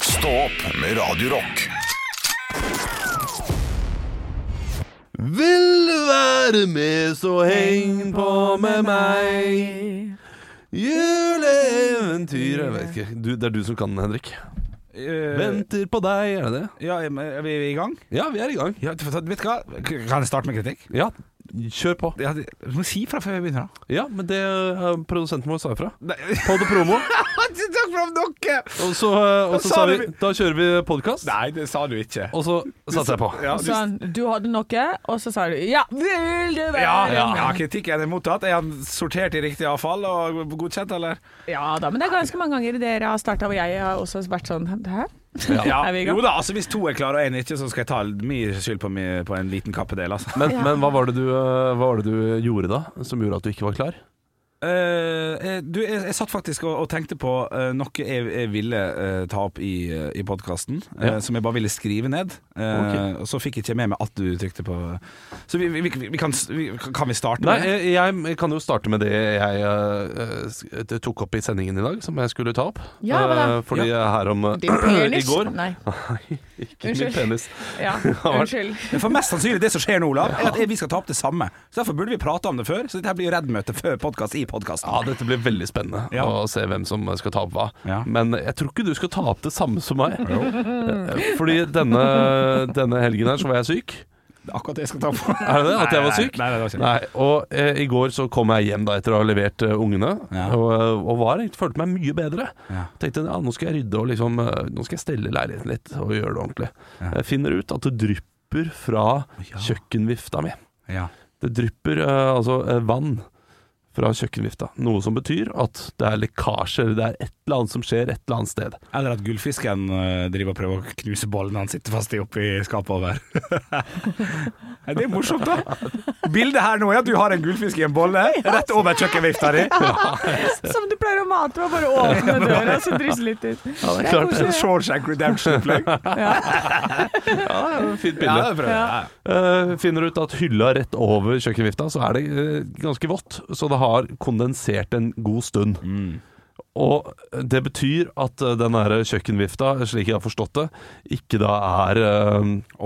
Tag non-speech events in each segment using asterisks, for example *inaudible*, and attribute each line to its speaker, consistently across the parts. Speaker 1: Stå opp med Radio Rock.
Speaker 2: Vil være med, så heng på med meg. Juleeventyret Jeg vet ikke. Du, det er du som kan den, Henrik.
Speaker 3: Eh,
Speaker 2: Venter på deg, er det det?
Speaker 3: Ja, er vi- er vi i gang?
Speaker 2: Ja, vi er i gang.
Speaker 3: Ja, vet du hva? Kan jeg starte med kritikk?
Speaker 2: Ja, kjør på.
Speaker 3: Ja, det- du må si fra før vi begynner, da.
Speaker 2: Ja, men det eh, produsenten vår sa ifra.
Speaker 3: Nei. *laughs*
Speaker 2: Pod og promo.
Speaker 3: Takk for om dere!
Speaker 2: *laughs* Og så, eh, og
Speaker 3: Da
Speaker 2: så
Speaker 3: sa
Speaker 2: sa
Speaker 3: du
Speaker 2: vi Da kjører vi podkast.
Speaker 3: Nei, det sa du ikke.
Speaker 2: Og så satser jeg på.
Speaker 3: Ja,
Speaker 4: Og
Speaker 3: du,
Speaker 4: så sa han, du hadde noe, og så sa du ja, vil du være
Speaker 3: ja, ja.
Speaker 4: med?
Speaker 3: ja kritikken er mottatt. Er han sortert i riktig avfall og godkjent, eller?
Speaker 4: Ja da, men det er ganske mange ganger dere har starta, og jeg har også vært sånn hæ?
Speaker 3: Ja.
Speaker 4: *laughs* Er vi i gang?
Speaker 3: Jo da, altså hvis to er klare og én ikke, så skal jeg ta mye skyld på, mi- på en liten kappedel, altså.
Speaker 2: Men, men hva, var det du, eh, hva var det du gjorde da som gjorde at du ikke var klar?
Speaker 3: Eh, eh, du, jeg, jeg satt faktisk og, og tenkte på eh, noe jeg, jeg ville eh, ta opp i, eh, i podkasten,
Speaker 2: Ja.
Speaker 3: som jeg bare ville skrive ned. Eh, Og så fikk jeg ikke med meg at du trykte på Så vi, vi, vi, vi kan, s- vi, kan vi starte
Speaker 2: Nei,
Speaker 3: med det?
Speaker 2: jeg, jeg kan jo starte med det jeg eh, s- eh, tok opp i sendingen i dag, som jeg skulle ta opp.
Speaker 4: Ja, hva da?
Speaker 2: Eh, fordi her om eh,
Speaker 4: Din penis?
Speaker 2: *clears throat* i går
Speaker 4: Nei.
Speaker 2: *laughs* Nei, ikke min
Speaker 4: Unnskyld.
Speaker 2: penis.
Speaker 4: Ja,
Speaker 2: vært-
Speaker 4: unnskyld. *laughs*
Speaker 3: Men For mest sannsynlig det som skjer nå, Olav, er at vi skal ta opp det samme. Så Derfor burde vi prate om det før. Så dette her blir jo reddmøte før podkast i podkasten.
Speaker 2: Ja, dette blir veldig spennende
Speaker 3: Ja.
Speaker 2: å se hvem som eh, skal ta opp hva.
Speaker 3: Ja.
Speaker 2: Men jeg tror ikke du skal ta opp det samme som meg. Eh, Fordi denne, denne helgen her så var jeg syk.
Speaker 3: Akkurat det jeg skal ta på.
Speaker 2: Er det det? At jeg var
Speaker 3: Nei,
Speaker 2: syk?
Speaker 3: Nei, nei, det var ikke.
Speaker 2: Nei, og eh, i går så kom jeg hjem da etter å ha levert eh, ungene,
Speaker 3: Ja.
Speaker 2: og, eh, og var, følte meg mye bedre.
Speaker 3: Ja.
Speaker 2: Tenkte ja, nå skal jeg rydde og liksom, eh, nå skal jeg stelle leiligheten litt og gjøre det ordentlig.
Speaker 3: Ja.
Speaker 2: Jeg finner ut at det drypper fra
Speaker 3: Ja.
Speaker 2: kjøkkenvifta mi.
Speaker 3: Ja.
Speaker 2: Det drypper eh, altså eh, vann fra kjøkkenvifta, noe som betyr at det er lekkasjer, det er et eller annet som skjer et eller annet sted.
Speaker 3: Eller at gullfisken eh, driver og prøver å knuse bollen han sitter fast i oppi skapet over. *laughs* Er det er morsomt, da. Bildet her nå er at du har en gullfisk i en *laughs* bolle rett over kjøkkenvifta *laughs* di.
Speaker 4: Som du pleier å mate med, bare
Speaker 2: *laughs*
Speaker 4: åpne døra så drysse litt ut.
Speaker 2: Ja, det er
Speaker 4: Det er
Speaker 2: klart.
Speaker 4: koselig.
Speaker 3: Shawshank Redemption-opplegg.
Speaker 2: Ja, *laughs* ja, fint bilde.
Speaker 3: Ja, det prøver jeg.
Speaker 2: Eh, finner ut at hylla rett over kjøkkenvifta, så er det eh, ganske vått. Så det har kondensert en god stund.
Speaker 3: Mm.
Speaker 2: Og det betyr at eh, den her kjøkkenvifta, slik jeg har forstått det, ikke da er eh,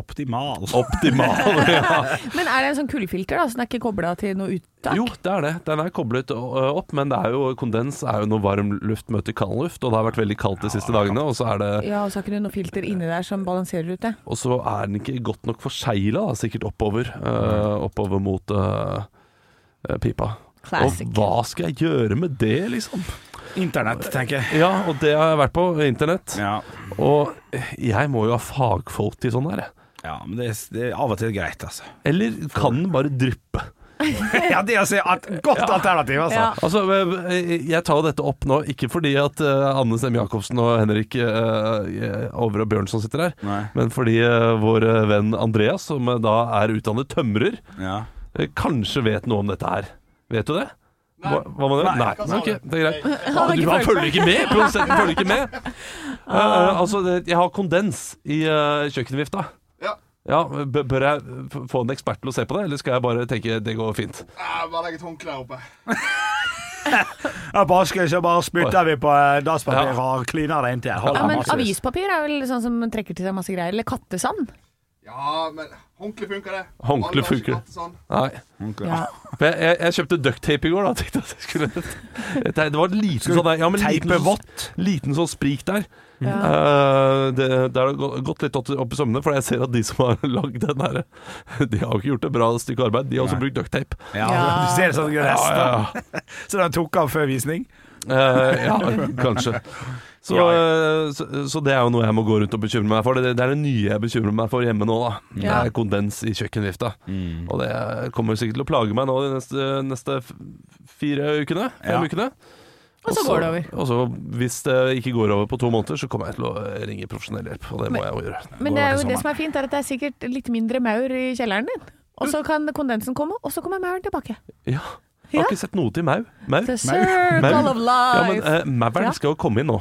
Speaker 3: Optimal.
Speaker 2: optimal. ja.
Speaker 4: Men er det en sånn kullfilter, da, så den er ikke kobla til noe uttak?
Speaker 2: Jo, det er det. Den er koblet eh, opp, men det er jo, kondens er jo når varm luft møter kald luft. Og det har vært veldig kaldt de siste dagene, og så er det
Speaker 4: Ja, og så har ikke du noe filter inni der som balanserer ut det?
Speaker 2: Og så er den ikke godt nok forsegla, sikkert oppover. eh, oppover mot eh, eh, pipa.
Speaker 4: Classic.
Speaker 2: Og hva skal jeg gjøre med det, liksom?
Speaker 3: Internett, tenker jeg.
Speaker 2: Ja, og det har jeg vært på internett.
Speaker 3: Ja.
Speaker 2: Og jeg må jo ha fagfolk til sånn her. jeg.
Speaker 3: ja, men det er, det er av og til greit, altså.
Speaker 2: Eller kan den bare dryppe?
Speaker 3: *laughs* Ja, det er altså et godt alternativ, altså.
Speaker 4: Ja.
Speaker 2: Altså, eh, jeg tar jo dette opp nå, ikke fordi at eh, Anne Semme Jacobsen og Henrik eh, Over og Bjørnson sitter her,
Speaker 3: Nei.
Speaker 2: men fordi eh, vår eh, venn Andreas, som eh, da er utdannet tømrer,
Speaker 3: Ja.
Speaker 2: eh, kanskje vet noe om dette her. Vet du det? Hva, hva man gjør? Nei. ok, det er greit. Ah, du, han følger ikke med! Produsenten følger ikke med. Eh, eh, altså, det- jeg har kondens i eh, kjøkkenvifta.
Speaker 5: Ja.
Speaker 2: Ja, b- Bør jeg f- få en ekspert til å se på det, eller skal jeg bare tenke det går fint?
Speaker 5: Ja, Ah, bare legg et håndkle her oppe.
Speaker 3: bare skal ikke bare spytter vi på eh, dasspapir
Speaker 2: Ja.
Speaker 3: og kliner det inntil.
Speaker 4: Ja, men avispapir er vel sånn som trekker til seg masse greier. Eller kattesand.
Speaker 5: Ja, men håndkle funker, det.
Speaker 2: Håndkle
Speaker 5: Alle har ikke
Speaker 2: funker.
Speaker 5: hatt Sånn.
Speaker 2: Nei.
Speaker 4: Ja.
Speaker 2: For jeg, jeg, jeg kjøpte ducktape i går, da. *laughs* Tenkte at jeg skulle Det, det var en liten
Speaker 3: du
Speaker 2: sånn der- ja, men liten
Speaker 3: teipe
Speaker 2: sånn-
Speaker 3: vått?
Speaker 2: Liten sånn sprik der.
Speaker 4: Ja.
Speaker 2: Eh, det, det har gå- gått litt opp, opp i sømmene, for jeg ser at de som har *laughs* lagd den her, de har jo ikke gjort et bra stykke arbeid. De har også
Speaker 3: Nei.
Speaker 2: brukt ducktape.
Speaker 3: Ja,
Speaker 4: Ja.
Speaker 3: *laughs* du ser sånn rest.
Speaker 2: Ja, ja, ja.
Speaker 3: Så den tok av før visning.
Speaker 2: Eh, ja, kanskje. Så,
Speaker 3: Ja,
Speaker 2: eh, så, så det er jo noe jeg må gå rundt og bekymre meg for. Det, det er det nye jeg bekymrer meg for hjemme nå. da Det
Speaker 4: Ja.
Speaker 2: er kondens i kjøkkenvifta.
Speaker 3: Mm.
Speaker 2: Og det kommer sikkert til å plage meg nå de neste, neste f- fire ukene. Fem
Speaker 3: Ja.
Speaker 2: ukene.
Speaker 4: Og så går det over.
Speaker 2: Og så Hvis det ikke går over på to måneder, så kommer jeg til å ringe profesjonell hjelp. Og det må jeg jo gjøre.
Speaker 4: Men
Speaker 3: Går
Speaker 4: det er
Speaker 3: over
Speaker 4: jo
Speaker 3: til
Speaker 4: det som er fint, er at det er sikkert litt mindre maur i kjelleren din. Og så kan kondensen komme, og så kommer mauren tilbake.
Speaker 2: Ja. Jeg
Speaker 4: Ja.
Speaker 2: har ikke sett noe til mau. Mau?
Speaker 4: The circle of
Speaker 2: Ja, men
Speaker 4: life.
Speaker 2: eh, mauren
Speaker 4: Ja.
Speaker 2: skal jo komme inn nå.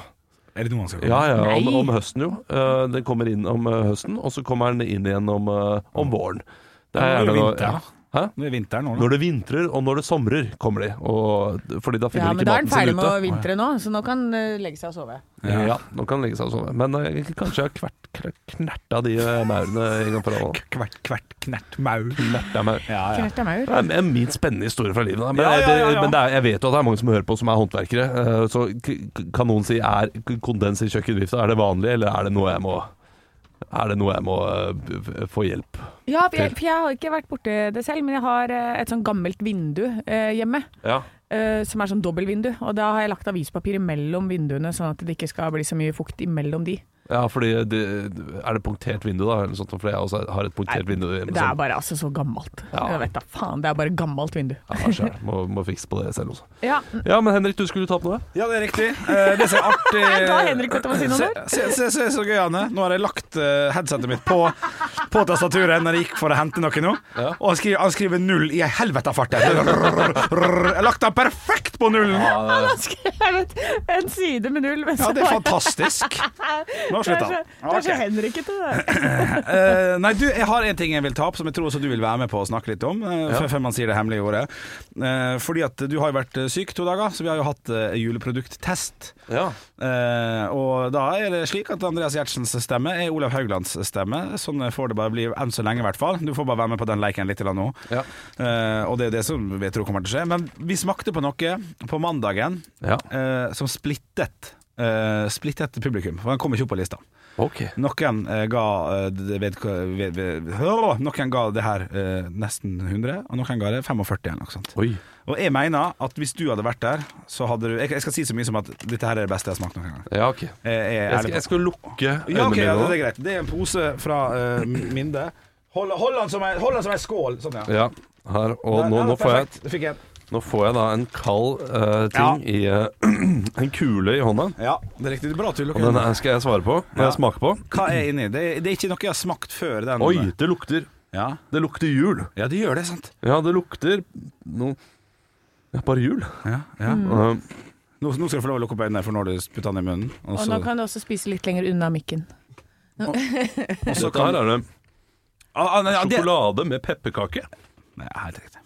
Speaker 3: Er det noe han skal
Speaker 2: Ja, ja, om,
Speaker 4: Nei.
Speaker 2: om høsten jo. Eh, den kommer inn om eh, høsten, og så kommer den inn igjen om, eh, om våren. Det er
Speaker 3: Ja, det er
Speaker 2: gjerne
Speaker 3: jo
Speaker 2: noe
Speaker 3: vinter,
Speaker 2: ja.
Speaker 3: da.
Speaker 2: Hæ?
Speaker 3: Nå er det vinteren nå, da.
Speaker 2: Når det vintrer og når det somrer, kommer de. Og, fordi da finner
Speaker 5: Ja,
Speaker 2: de ikke
Speaker 5: men da er
Speaker 2: maten
Speaker 5: den
Speaker 2: sin ute.
Speaker 5: ferdig med å vintre nå, så nå kan han legge seg og sove.
Speaker 2: Ja. nå kan han legge seg og sove. Men eh, kanskje jeg har kvert, kn- knerta de eh, maurene en gang for alle.
Speaker 3: Kvert, kvert, knert, maur.
Speaker 2: Knerta maur.
Speaker 3: Ja, ja.
Speaker 5: Knert av maur.
Speaker 2: Det er en- min spennende historie fra livet. da. Men,
Speaker 3: Ja, ja, ja, ja.
Speaker 2: Det, men det er, jeg vet jo at det er mange som hører på som er håndverkere. eh, Så k- k- kan noen si er k- kondens i kjøkkenvifta er det vanlig, eller er det noe jeg må er det noe jeg må eh, b- f- få hjelp?
Speaker 5: Ja, for jeg, for jeg har ikke vært borti det selv, men jeg har eh, et sånn gammelt vindu eh, hjemme.
Speaker 2: Ja.
Speaker 5: eh, som er sånn dobbeltvindu. Og da har jeg lagt avispapir mellom vinduene, sånn at det ikke skal bli så mye fukt imellom de.
Speaker 2: fordi det, Er det punktert vindu, da? Eller noe sånt, for jeg også har et punktert vindu. hjemme,
Speaker 5: Det
Speaker 3: sånn-
Speaker 5: er
Speaker 2: som-
Speaker 5: bare altså så gammelt.
Speaker 2: Ja.
Speaker 5: Jeg vet da faen, det er bare gammelt vindu.
Speaker 2: Ja, skjer. Må, må fikse på det selv også.
Speaker 5: *laughs* Ja,
Speaker 2: Ja, men Henrik, du skulle ta på noe?
Speaker 3: Ja, det er riktig. Eh, Det som er artig
Speaker 5: Jeg ga Henrik dette med sine
Speaker 3: Se,
Speaker 5: ord.
Speaker 3: se, se, se så gøy, Anne. Nå har jeg lagt eh, headsetet mitt på, på tastaturet når jeg gikk for å hente noe nå.
Speaker 2: Ja.
Speaker 3: Og han skriver, han skriver null i ei helvete fart. der. Jeg har lagt den perfekt på nullen!
Speaker 5: han har *laughs* skrevet en side med null. Men
Speaker 3: Ja,
Speaker 5: så
Speaker 3: det er
Speaker 5: bare-
Speaker 3: fantastisk.
Speaker 5: Det
Speaker 3: Nå
Speaker 5: er
Speaker 3: slutter
Speaker 5: så,
Speaker 3: han.
Speaker 5: det er så
Speaker 3: Ok.
Speaker 5: Henrikete, det.
Speaker 3: Eh, nei, du, jeg har en ting jeg vil ta opp som jeg tror også du vil være med på å snakke litt om. eh,
Speaker 2: Ja.
Speaker 3: før- Før man sier det hemmelige ordet. Eh, fordi at du har jo vært eh, syk to dager, så vi har jo hatt eh, juleprodukttest.
Speaker 2: Ja.
Speaker 3: Eh, og da er det slik at Andreas Gjertsens stemme er Olav Hauglands stemme. Sånn får det bare bli enn så lenge, i hvert fall. Du får bare være med på den leiken litt nå.
Speaker 2: Ja.
Speaker 3: Eh, og det er det som vi tror kommer til å skje. Men vi smakte på noe på mandagen
Speaker 2: Ja,
Speaker 3: eh, som splittet. eh, splittet publikum, for han kom ikke opp på lista.
Speaker 2: ok.
Speaker 3: Noen eh, ga eh, det ved, ved, ved, Hør, Noen ga det her eh, nesten 100, og noen ga det 45 eller noe sånt.
Speaker 2: Oi.
Speaker 3: Og jeg mener at hvis du hadde vært der, så hadde du Jeg, jeg skal si så mye som at dette her er det beste jeg har smakt noen gang.
Speaker 2: Ja, ok. Jeg
Speaker 3: Jeg, jeg, er
Speaker 2: skal,
Speaker 3: ærlig
Speaker 2: jeg
Speaker 3: på.
Speaker 2: skal lukke øynene
Speaker 3: Ja, ok, ja,
Speaker 2: mine
Speaker 3: det er
Speaker 2: nå.
Speaker 3: greit. Det er en pose fra eh, Minde. Hold, hold, den som ei- hold den som ei skål. Sånn, ja.
Speaker 2: Ja, her, og nå,
Speaker 3: Der, der,
Speaker 2: nå, får jeg,
Speaker 3: perfekt. Det fikk jeg.
Speaker 2: nå får jeg da en kald eh, ting i eh, *clears throat* En kule i hånda.
Speaker 3: Ja, det er riktig. Det er bra at du
Speaker 2: Og den
Speaker 3: lukker den.
Speaker 2: her skal jeg svare på når
Speaker 3: Ja.
Speaker 2: jeg smaker på.
Speaker 3: Hva er inni? Det, er- det er ikke noe jeg har smakt før. Den.
Speaker 2: Oi, det lukter
Speaker 3: Ja.
Speaker 2: Det lukter jul.
Speaker 3: ja, det gjør det, sant?
Speaker 2: Ja, det lukter noe ja, Bare jul.
Speaker 3: Ja, ja.
Speaker 2: Eh,
Speaker 3: Nå, nå skal du få lov å lukke opp øynene, for nå har du putta den i munnen. Og
Speaker 5: Og
Speaker 3: så
Speaker 5: nå kan du også spise litt lenger unna mikken.
Speaker 3: og så
Speaker 2: dette her
Speaker 3: kan-
Speaker 2: er det
Speaker 3: Ah, ah, nei, ja, det-
Speaker 2: sjokolade med pepperkake.
Speaker 3: Nei, helt riktig.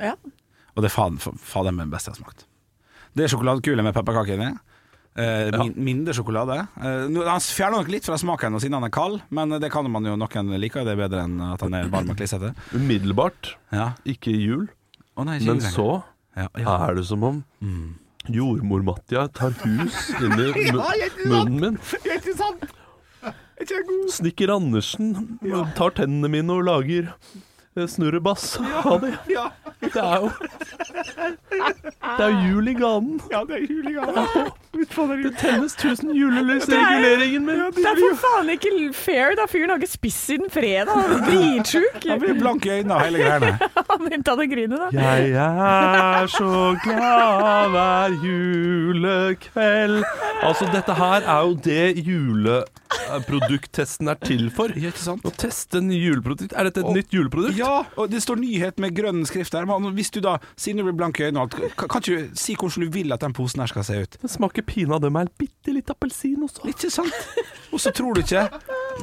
Speaker 5: Ja.
Speaker 3: Og det er faen, fa- faen den beste jeg har smakt. Det er sjokoladekule med pepperkake inni. Eh, min, Mindre sjokolade. Eh, nå- han fjerner nok litt fra smaken og siden han er kald, men det kan man jo noen like. Det er bedre enn at han er varm og klissete.
Speaker 2: Umiddelbart,
Speaker 3: Ja.
Speaker 2: ikke jul.
Speaker 3: Å nei, ikke
Speaker 2: Men
Speaker 3: lenger.
Speaker 2: så
Speaker 3: ja, ja. Mm.
Speaker 2: er det som om jordmor-Matja tar hus inn
Speaker 3: *laughs*
Speaker 2: i mu- munnen min.
Speaker 6: Ikke sant? Ikke god.
Speaker 2: Snikker Andersen tar tennene mine og lager eh, snurrebass av det.
Speaker 6: Ja.
Speaker 2: Det er jo Det er jul i ganen.
Speaker 3: ja, det er julegave.
Speaker 2: Det tennes tusen julelys i reguleringen min.
Speaker 5: Det er for faen ikke fair, da. Fyren har ikke spist siden fredag. Han er dritsjuk.
Speaker 3: Han blir blank i øynene og hele greiene.
Speaker 5: Han begynte å grine da.
Speaker 2: Jeg er så glad hver julekveld. Altså, dette her er jo det juleprodukttesten er til for.
Speaker 3: *laughs* Ja, ikke sant?
Speaker 2: Å teste nye juleprodukt. Er dette et
Speaker 3: Og-
Speaker 2: nytt juleprodukt?
Speaker 3: Ja, og det står nyhet med grønn skrift der. Men hvis du da, siden du blir blank i øynene og alt, kan kan ikke du si hvordan du vil at den posen her skal se ut?
Speaker 2: Det smaker pinadø meg en bitte litt appelsin også.
Speaker 3: Ikke sant? Og så tror du ikke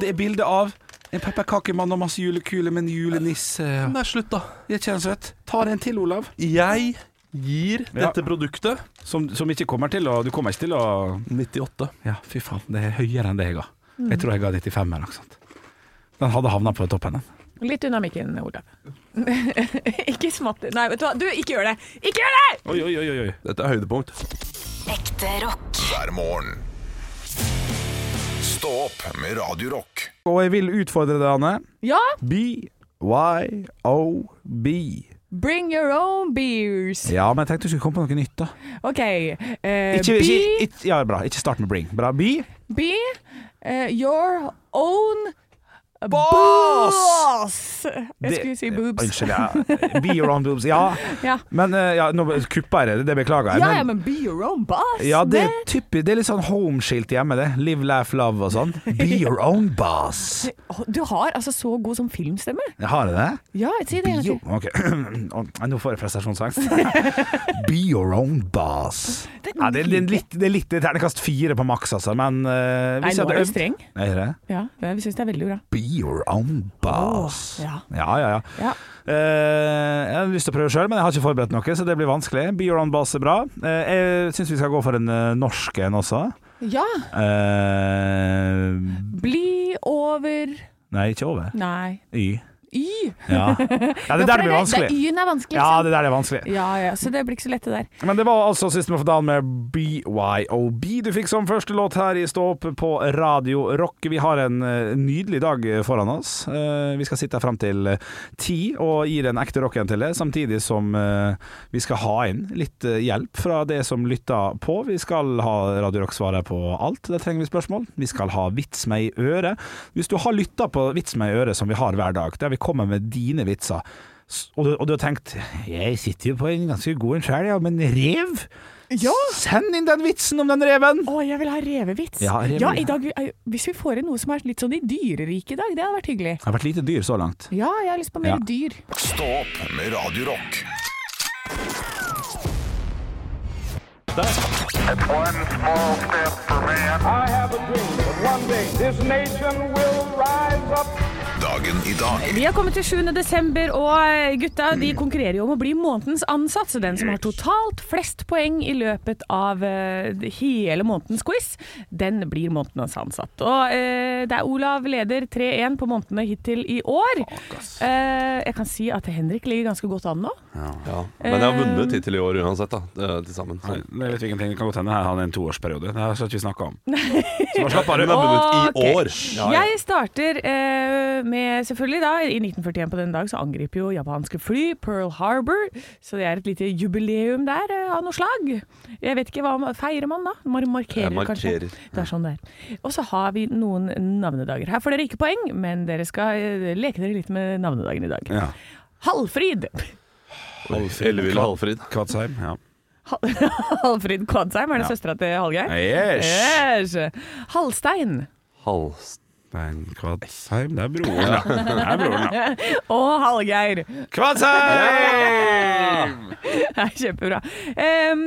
Speaker 3: Det er bilde av en pepperkakemann og masse julekuler med en julenisse.
Speaker 2: Nei, slutt, da.
Speaker 3: Jeg kjenner så rett. Ta en til, Olav.
Speaker 2: Jeg gir
Speaker 3: Ja.
Speaker 2: dette produktet
Speaker 3: Som, som ikke kommer til å Du kommer ikke til å
Speaker 2: 98.
Speaker 3: Ja, fy faen. Det er høyere enn det jeg ga. Jeg tror jeg ga 95 eller noe sånt. Den hadde havna på toppen, den.
Speaker 5: Litt unna mikken, Olav. *laughs* ikke smatt Nei, vet du hva. Du, ikke gjør det! Ikke gjør det!
Speaker 3: Oi, oi, oi, oi.
Speaker 2: Dette er høydepunkt.
Speaker 7: Ekte rock.
Speaker 1: hver morgen. Stå opp med Radio Rock.
Speaker 3: Og jeg vil utfordre deg, Anne.
Speaker 5: Ja,
Speaker 3: BYOB.
Speaker 5: bring your own beers.
Speaker 3: Ja, men jeg tenkte du skulle komme på noe nytt, da.
Speaker 5: OK. eh,
Speaker 3: Ikke,
Speaker 5: be,
Speaker 3: ikke, ikke, ja, bra. Ikke start med bring. Bra. Be
Speaker 5: be eh, your own
Speaker 3: Boss!
Speaker 5: boss. Jeg
Speaker 3: Det-
Speaker 5: skulle si boobs.
Speaker 3: Unnskyld, ja. Be your own boobs. Ja.
Speaker 5: *laughs* Ja.
Speaker 3: Men eh, ja, nå kuppa jeg det. Det beklager jeg.
Speaker 5: Ja, ja, men be your own boss.
Speaker 3: Ja, det er
Speaker 5: det-
Speaker 3: typisk Det er litt sånn homeskilt hjemme, det. Live, laugh, love og sånn.
Speaker 5: *laughs*
Speaker 3: Be your own boss.
Speaker 5: Å, Du har altså så god som filmstemme.
Speaker 3: Jeg har det.
Speaker 5: Ja, si det.
Speaker 3: Be
Speaker 5: en gang til.
Speaker 3: your, ok. *clears throat* Å, Nå får jeg prestasjonsangst.
Speaker 5: *laughs*
Speaker 3: Be your own boss.
Speaker 5: Det er
Speaker 3: Ja, det, det, er litt, det er litt terningkast fire på maks, altså, men eh,
Speaker 5: Nei,
Speaker 3: hvis
Speaker 5: nå
Speaker 3: jeg hadde
Speaker 5: er du
Speaker 3: øvd-
Speaker 5: streng.
Speaker 3: Er det det?
Speaker 5: Ja, ja, vi syns det er veldig bra.
Speaker 3: Be your own boss.
Speaker 4: Åh, ja.
Speaker 3: ja, ja. ja.
Speaker 4: Ja.
Speaker 3: Eh, jeg har lyst til å prøve sjøl, men jeg har ikke forberedt noe, så det blir vanskelig. Be your own boss er bra. Eh, jeg syns vi skal gå for en eh, norsk en også.
Speaker 4: ja.
Speaker 3: Eh,
Speaker 4: Bli over
Speaker 3: nei, ikke over.
Speaker 4: Nei.
Speaker 3: Y.
Speaker 4: Y.
Speaker 3: Ja, ja det der blir vanskelig.
Speaker 4: Y-en er vanskelig.
Speaker 3: Ja,
Speaker 4: Liksom.
Speaker 3: det der er vanskelig.
Speaker 4: Ja, ja, så det blir ikke så lett, det der.
Speaker 3: Men det var altså System of a Down med BYOB du fikk som første låt her i Stå opp på Radio Rock. Vi har en eh, nydelig dag foran oss. Eh, Vi skal sitte her fram til eh, ti og gi den ekte rocken til det, samtidig som eh, vi skal ha inn litt eh, hjelp fra det som lytter på. Vi skal ha Radio Rock svaret på alt, det trenger vi spørsmål. Vi skal ha Vits meg i øret. Hvis du har lytta på Vits meg i øret som vi har hver dag, der vi kommer med dine vitser, S- Og du, og du har tenkt Jeg sitter jo på en ganske god en sjøl, ja, men rev? Send inn den vitsen om den reven!
Speaker 4: Å, jeg vil ha revevits.
Speaker 3: Ja, reve-
Speaker 4: ja, i dag, hvis vi får inn noe som er litt sånn i dyreriket i dag, det hadde vært hyggelig.
Speaker 3: Det har vært lite dyr så langt.
Speaker 4: Ja, jeg har lyst på
Speaker 3: Ja.
Speaker 4: mer dyr.
Speaker 1: Stå opp med Radio Rock.
Speaker 8: One small step for man. I have a dream that one day this nation will rise up.
Speaker 1: Dagen i dag
Speaker 5: Vi har kommet til 7. desember, og eh, gutta de konkurrerer jo om å bli månedens ansatt. Så den som har totalt flest poeng i løpet av eh, hele månedens quiz, den blir månedens ansatt. Og eh, det er Olav leder 3-1 på månedene hittil i år. Eh, jeg kan si at Henrik ligger ganske godt an nå.
Speaker 2: Ja. Men jeg har
Speaker 5: Eh.
Speaker 2: vunnet hittil i år uansett, da. eh, Til sammen. Så.
Speaker 3: Det vet vi ingenting. Det kan godt hende her har en toårsperiode. Det har ikke vi snakka om. Så bare slapp av.
Speaker 2: Men jeg har vunnet i
Speaker 5: Ok.
Speaker 2: år. Ja, ja.
Speaker 5: Jeg starter eh, med selvfølgelig da, i 1941 på denne dag så angriper jo japanske fly Pearl Harbor, så det er et lite jubileum der eh, av noe slag. Jeg vet ikke hva man- feirer man da? Man markerer,
Speaker 2: Jeg markerer.
Speaker 5: kanskje. Det er sånn det er. Og så har vi noen navnedager. Her får dere ikke poeng, men dere skal eh, leke dere litt med navnedagen i dag.
Speaker 3: Ja.
Speaker 5: Halvfrid.
Speaker 2: Elleville Halfrid.
Speaker 3: Kvadsheim. Ja.
Speaker 5: Hal *laughs* Halvfrid Kvadsheim, er det søstera til Hallgeir? Eh.
Speaker 3: Yes.
Speaker 5: Yes. Halstein
Speaker 2: Hals...
Speaker 3: Stein Kvadsheim. Det er broren, da. Det er broren,
Speaker 5: *laughs*
Speaker 3: da.
Speaker 5: og Hallgeir.
Speaker 3: Kvadsheim!
Speaker 5: *laughs* Det er kjempebra. Em,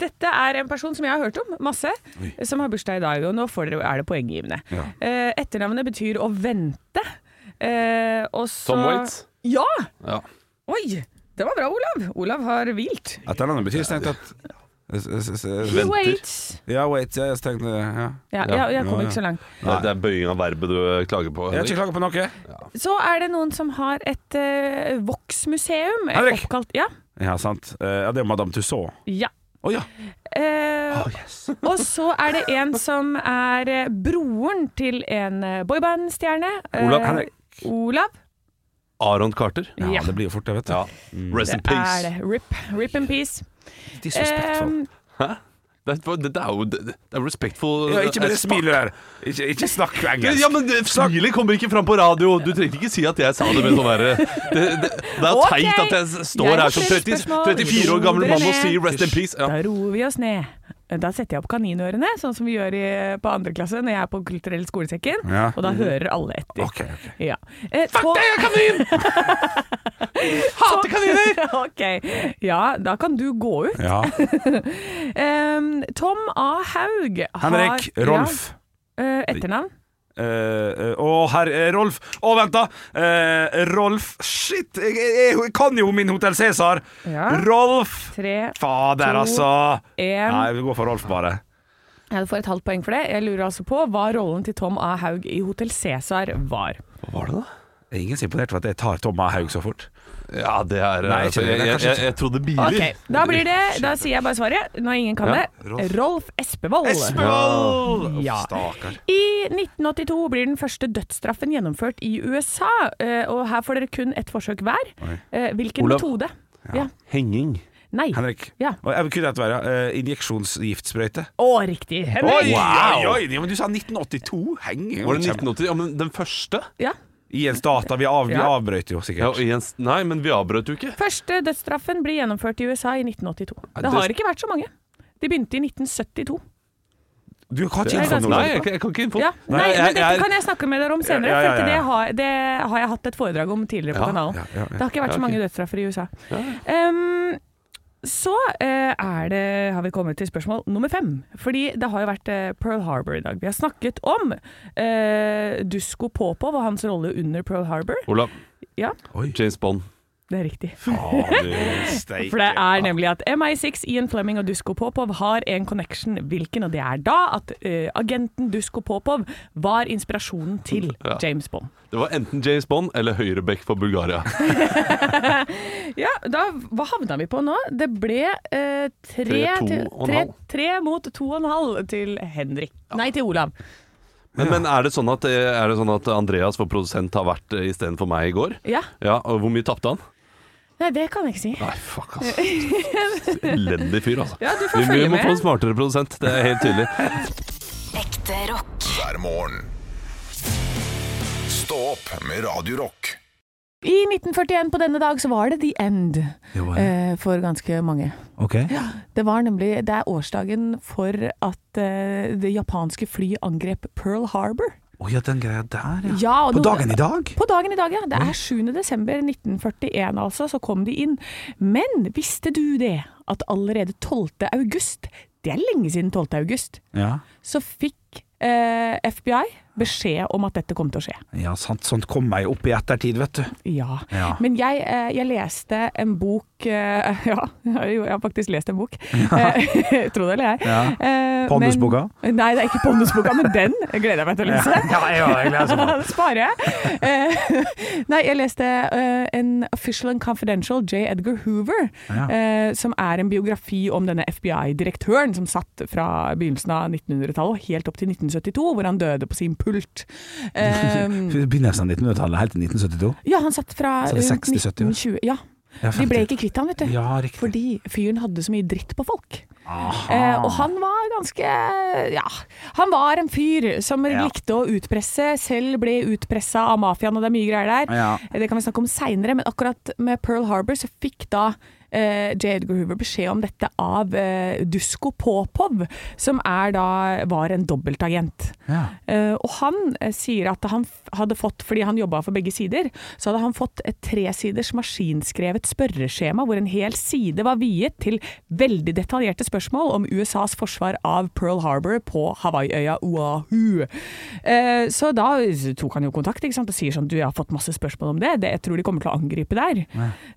Speaker 5: dette er en person som jeg har hørt om masse, som har bursdag i dag. Og nå får dere, er det poenggivende.
Speaker 3: Ja.
Speaker 5: Eh, etternavnet betyr å vente. Eh, og så
Speaker 2: Tom Waits.
Speaker 5: Ja!
Speaker 2: Ja.
Speaker 5: Oi! Det var bra, Olav. Olav har hvilt.
Speaker 3: Etternavnet betyr strengt tatt S- s- s- s-
Speaker 2: Venter.
Speaker 5: Waits.
Speaker 3: Ja, wait, jeg tenkte ja.
Speaker 5: Ja,
Speaker 2: Ja.
Speaker 5: jeg, jeg kom
Speaker 3: Ja,
Speaker 5: ikke så langt.
Speaker 2: Det er- det er bøying av verbet du klager på.
Speaker 3: Jeg har
Speaker 2: Henrik.
Speaker 3: ikke klaga på noe.
Speaker 5: Så er det noen som har et eh, Vox-museum. eh,
Speaker 3: Henrik.
Speaker 5: oppkalt- Ja.
Speaker 3: Ja, sant. Eh, Ja, det er Madame Tussauds.
Speaker 5: ja.
Speaker 3: Å ja.
Speaker 5: Eh,
Speaker 2: Oh,
Speaker 5: *laughs* og så er det en som er eh, broren til en eh, boybandstjerne. Eh,
Speaker 2: Olav.
Speaker 3: Henrik.
Speaker 5: Olav.
Speaker 2: Aron Carter.
Speaker 3: Ja,
Speaker 5: Ja.
Speaker 3: det blir jo fort det, vet du.
Speaker 2: Ja.
Speaker 3: Mm.
Speaker 2: Rest in
Speaker 5: Det er
Speaker 2: peace.
Speaker 5: det. Rip, rip in peace.
Speaker 3: Disrespektful.
Speaker 5: Em,
Speaker 2: Det er, det er jo det er respectful
Speaker 3: Ja, ikke med det
Speaker 2: as fuck.
Speaker 3: smilet der. Ikke, ikke snakk engelsk.
Speaker 2: Eh, Ja, men det- Smilet kommer ikke fram på radio. Du trengte ikke si at jeg sa det med sånn derre det, det, det er
Speaker 5: Ok.
Speaker 2: teit at jeg s- står
Speaker 5: Jeg har
Speaker 2: her som
Speaker 5: flere
Speaker 2: 30,
Speaker 5: spørsmål.
Speaker 2: 34 år gammel
Speaker 5: Roer
Speaker 2: mann og
Speaker 5: ned.
Speaker 2: sier 'rest in peace'. Ja.
Speaker 5: Da roer vi oss ned. Da setter jeg opp kaninørene, sånn som vi gjør i, på andre klasse når jeg er på kulturell skolesekken.
Speaker 3: Ja.
Speaker 5: Og da hører alle etter.
Speaker 3: Ok, ok.
Speaker 5: Ja. Eh, tå-
Speaker 2: Jeg er
Speaker 5: *laughs*
Speaker 2: kanin! Hater kaniner!
Speaker 5: ok. Ja, da kan du gå ut.
Speaker 3: Ja.
Speaker 5: Em, Tom A. Haug har
Speaker 3: Henrik, Rolf
Speaker 5: Ja, eh, etternavn?
Speaker 3: Eh, eh, Å, herr eh, Rolf. Å, vent, da. Eh, Rolf Shit, jeg, jeg, jeg kan jo min Hotell Cæsar.
Speaker 5: Ja.
Speaker 3: Rolf
Speaker 5: Tre,
Speaker 3: Fader,
Speaker 5: To.
Speaker 3: altså.
Speaker 5: en
Speaker 3: Nei, vi går for Rolf, bare.
Speaker 5: Ja, du får et halvt poeng for det. Jeg lurer altså på hva rollen til Tom A. Haug i Hotell Cæsar var.
Speaker 2: Hva var det, da?
Speaker 3: Ingen er imponert over at jeg tar Tom A. Haug så fort.
Speaker 2: Ja, det er
Speaker 3: Nei,
Speaker 2: altså, jeg,
Speaker 3: ikke det. Det er
Speaker 2: jeg,
Speaker 3: kanskje
Speaker 2: jeg,
Speaker 3: ikke-
Speaker 2: jeg trodde biler.
Speaker 5: Ok, Da blir det, da sier jeg bare svaret når ingen kan
Speaker 2: Ja,
Speaker 5: det. Rolf Espevold.
Speaker 3: Espevold!
Speaker 5: Ja.
Speaker 3: Stakkar.
Speaker 5: I 1982 blir den første dødsstraffen gjennomført i USA, eh, og her får dere kun ett forsøk hver. Eh, Hvilken
Speaker 2: Olav.
Speaker 5: metode? Ja.
Speaker 2: Henging.
Speaker 5: Nei.
Speaker 3: Henrik.
Speaker 5: Ja.
Speaker 3: Og jeg kunne hatt verre. eh, Injeksjonsgiftsprøyte.
Speaker 5: Å, riktig. Henrik.
Speaker 3: Oi, oi,
Speaker 2: Wow.
Speaker 3: oi! Ja, Men du sa 1982. Heng.
Speaker 2: Var det 1980? Ja, men den første?
Speaker 5: Ja.
Speaker 3: I en stat. da, Vi, av, vi
Speaker 5: Ja.
Speaker 3: avbrøt jo sikkert.
Speaker 2: Ja, og Jens, nei, men vi avbrøt jo ikke.
Speaker 5: Første dødsstraffen blir gjennomført i USA i 1982.
Speaker 2: Ja,
Speaker 5: Det
Speaker 2: det-
Speaker 5: har ikke vært så mange. De begynte i 1972.
Speaker 3: Du har ikke
Speaker 5: er
Speaker 3: info
Speaker 5: ganske
Speaker 3: nå.
Speaker 2: Nei, jeg, jeg kan ikke info.
Speaker 5: Ja. Nei, men dette
Speaker 2: jeg-
Speaker 5: kan jeg snakke med dere om senere,
Speaker 3: Ja, ja, ja,
Speaker 5: for at
Speaker 3: ja.
Speaker 5: det har, det har jeg hatt et foredrag om tidligere på
Speaker 2: Ja,
Speaker 5: kanalen.
Speaker 3: ja, ja, ja.
Speaker 5: Det har ikke vært så mange dødsstraffer i USA. Um,
Speaker 9: Så eh, er det, har vi kommet til spørsmål nummer fem. Fordi det har jo vært eh, Pearl Harbor i dag. Vi har snakket om eh, Dusko Popov og hans rolle under Pearl Harbor.
Speaker 2: Olav.
Speaker 9: Ja,
Speaker 2: James Bond.
Speaker 9: det er riktig.
Speaker 2: *laughs*
Speaker 3: Steik.
Speaker 9: For det er nemlig at MI6, Ian Fleming og Dusko Popov har en connection. Hvilken? Og det er da at eh, agenten Dusko Popov var inspirasjonen til
Speaker 2: Ja.
Speaker 9: James Bond.
Speaker 2: Det var enten James Bond eller Høyrebekk for Bulgaria.
Speaker 9: Ja, da, hva havna vi på nå? Det ble eh, tre,
Speaker 2: Tre, to
Speaker 9: til-
Speaker 2: og en
Speaker 9: tre,
Speaker 2: halv.
Speaker 9: tre mot to og en halv til Henrik. Nei, til Olav.
Speaker 2: Men, men er, det sånn at, er det sånn at Andreas, vår produsent, har vært eh, istedenfor meg i går?
Speaker 9: Ja.
Speaker 2: Ja, og Hvor mye tapte han?
Speaker 9: Nei, det kan jeg ikke si.
Speaker 2: Nei, fuck, altså. Elendig fyr, altså.
Speaker 9: Ja, du får
Speaker 2: Vi, vi
Speaker 9: følge
Speaker 2: må
Speaker 9: med.
Speaker 2: få en smartere produsent, det er helt tydelig.
Speaker 10: Ekte rock.
Speaker 1: hver morgen. Stå opp med Radio Rock.
Speaker 5: I 1941 på denne dag så var det The End eh, for ganske mange.
Speaker 3: Ok.
Speaker 5: Det var nemlig Det er årsdagen for at eh, det japanske flyet angrep Pearl Harbor.
Speaker 3: Å ja, den greia der, ja.
Speaker 5: Ja, og
Speaker 3: På
Speaker 5: noe-
Speaker 3: dagen i dag?
Speaker 5: På dagen i dag, ja. Det er 7. desember 1941 altså, så kom de inn. Men visste du det, at allerede 12. august, det er lenge siden 12. august,
Speaker 3: Ja.
Speaker 5: så fikk eh, FBI beskjed om at dette kom til å skje.
Speaker 3: ja, sant. Sånt kommer jeg opp i ettertid, vet du.
Speaker 5: Ja.
Speaker 3: Ja.
Speaker 5: Men jeg, eh, jeg leste en bok eh, *laughs* Ja, jo, jeg har faktisk lest en
Speaker 3: *laughs*
Speaker 5: bok. Eh, *laughs* Tro det eller ei.
Speaker 3: Ja.
Speaker 5: Eh,
Speaker 3: Pondusboka?
Speaker 5: men- Nei, det er ikke Pondusboka, men den gleder jeg meg til å lese.
Speaker 3: *laughs* Ja, jeg, jeg gleder meg
Speaker 5: *laughs* Det sparer jeg. Eh, *laughs* nei, jeg leste eh, en Official and Confidential, J. Edgar Hoover,
Speaker 3: Ja.
Speaker 5: eh, som er en biografi om denne FBI-direktøren som satt fra begynnelsen av 1900-tallet og helt opp til 1972, hvor han døde på sin
Speaker 3: *laughs*
Speaker 5: pult. Eh,
Speaker 3: sånn. Begynnelsen av 1900-tallet, helt til 1972.
Speaker 5: ja, han satt fra
Speaker 3: Så det er
Speaker 5: rundt
Speaker 3: 60, 70 år.
Speaker 5: 1920. Ja,
Speaker 3: Ja,
Speaker 5: de ble
Speaker 3: 50.
Speaker 5: ikke kvitt han, vet du.
Speaker 3: Ja, riktig.
Speaker 5: Fordi fyren hadde så mye dritt på folk.
Speaker 3: Aha.
Speaker 5: Eh, og han var ganske Ja, han var en fyr som
Speaker 3: Ja.
Speaker 5: likte å utpresse. Selv ble utpressa av mafiaen, og det er mye greier der. Eh,
Speaker 3: Ja.
Speaker 5: Det kan vi snakke om seinere, men akkurat med Pearl Harbor så fikk da eh, J. Edgar Hoover beskjed om dette av eh, Dusko Popov, som er da var en dobbeltagent.
Speaker 3: Ja.
Speaker 5: Eh, og han eh, sier at han f hadde fått, fordi han jobba for begge sider, så hadde han fått et tresiders maskinskrevet spørreskjema hvor en hel side var viet til veldig detaljerte spørsmål om USAs forsvar av Pearl Harbor på Hawaii-øya Oahu. Eh, så da tok han jo kontakt ikke sant, og sier sånn du, jeg har fått masse spørsmål om det, det jeg tror de kommer til å angripe der.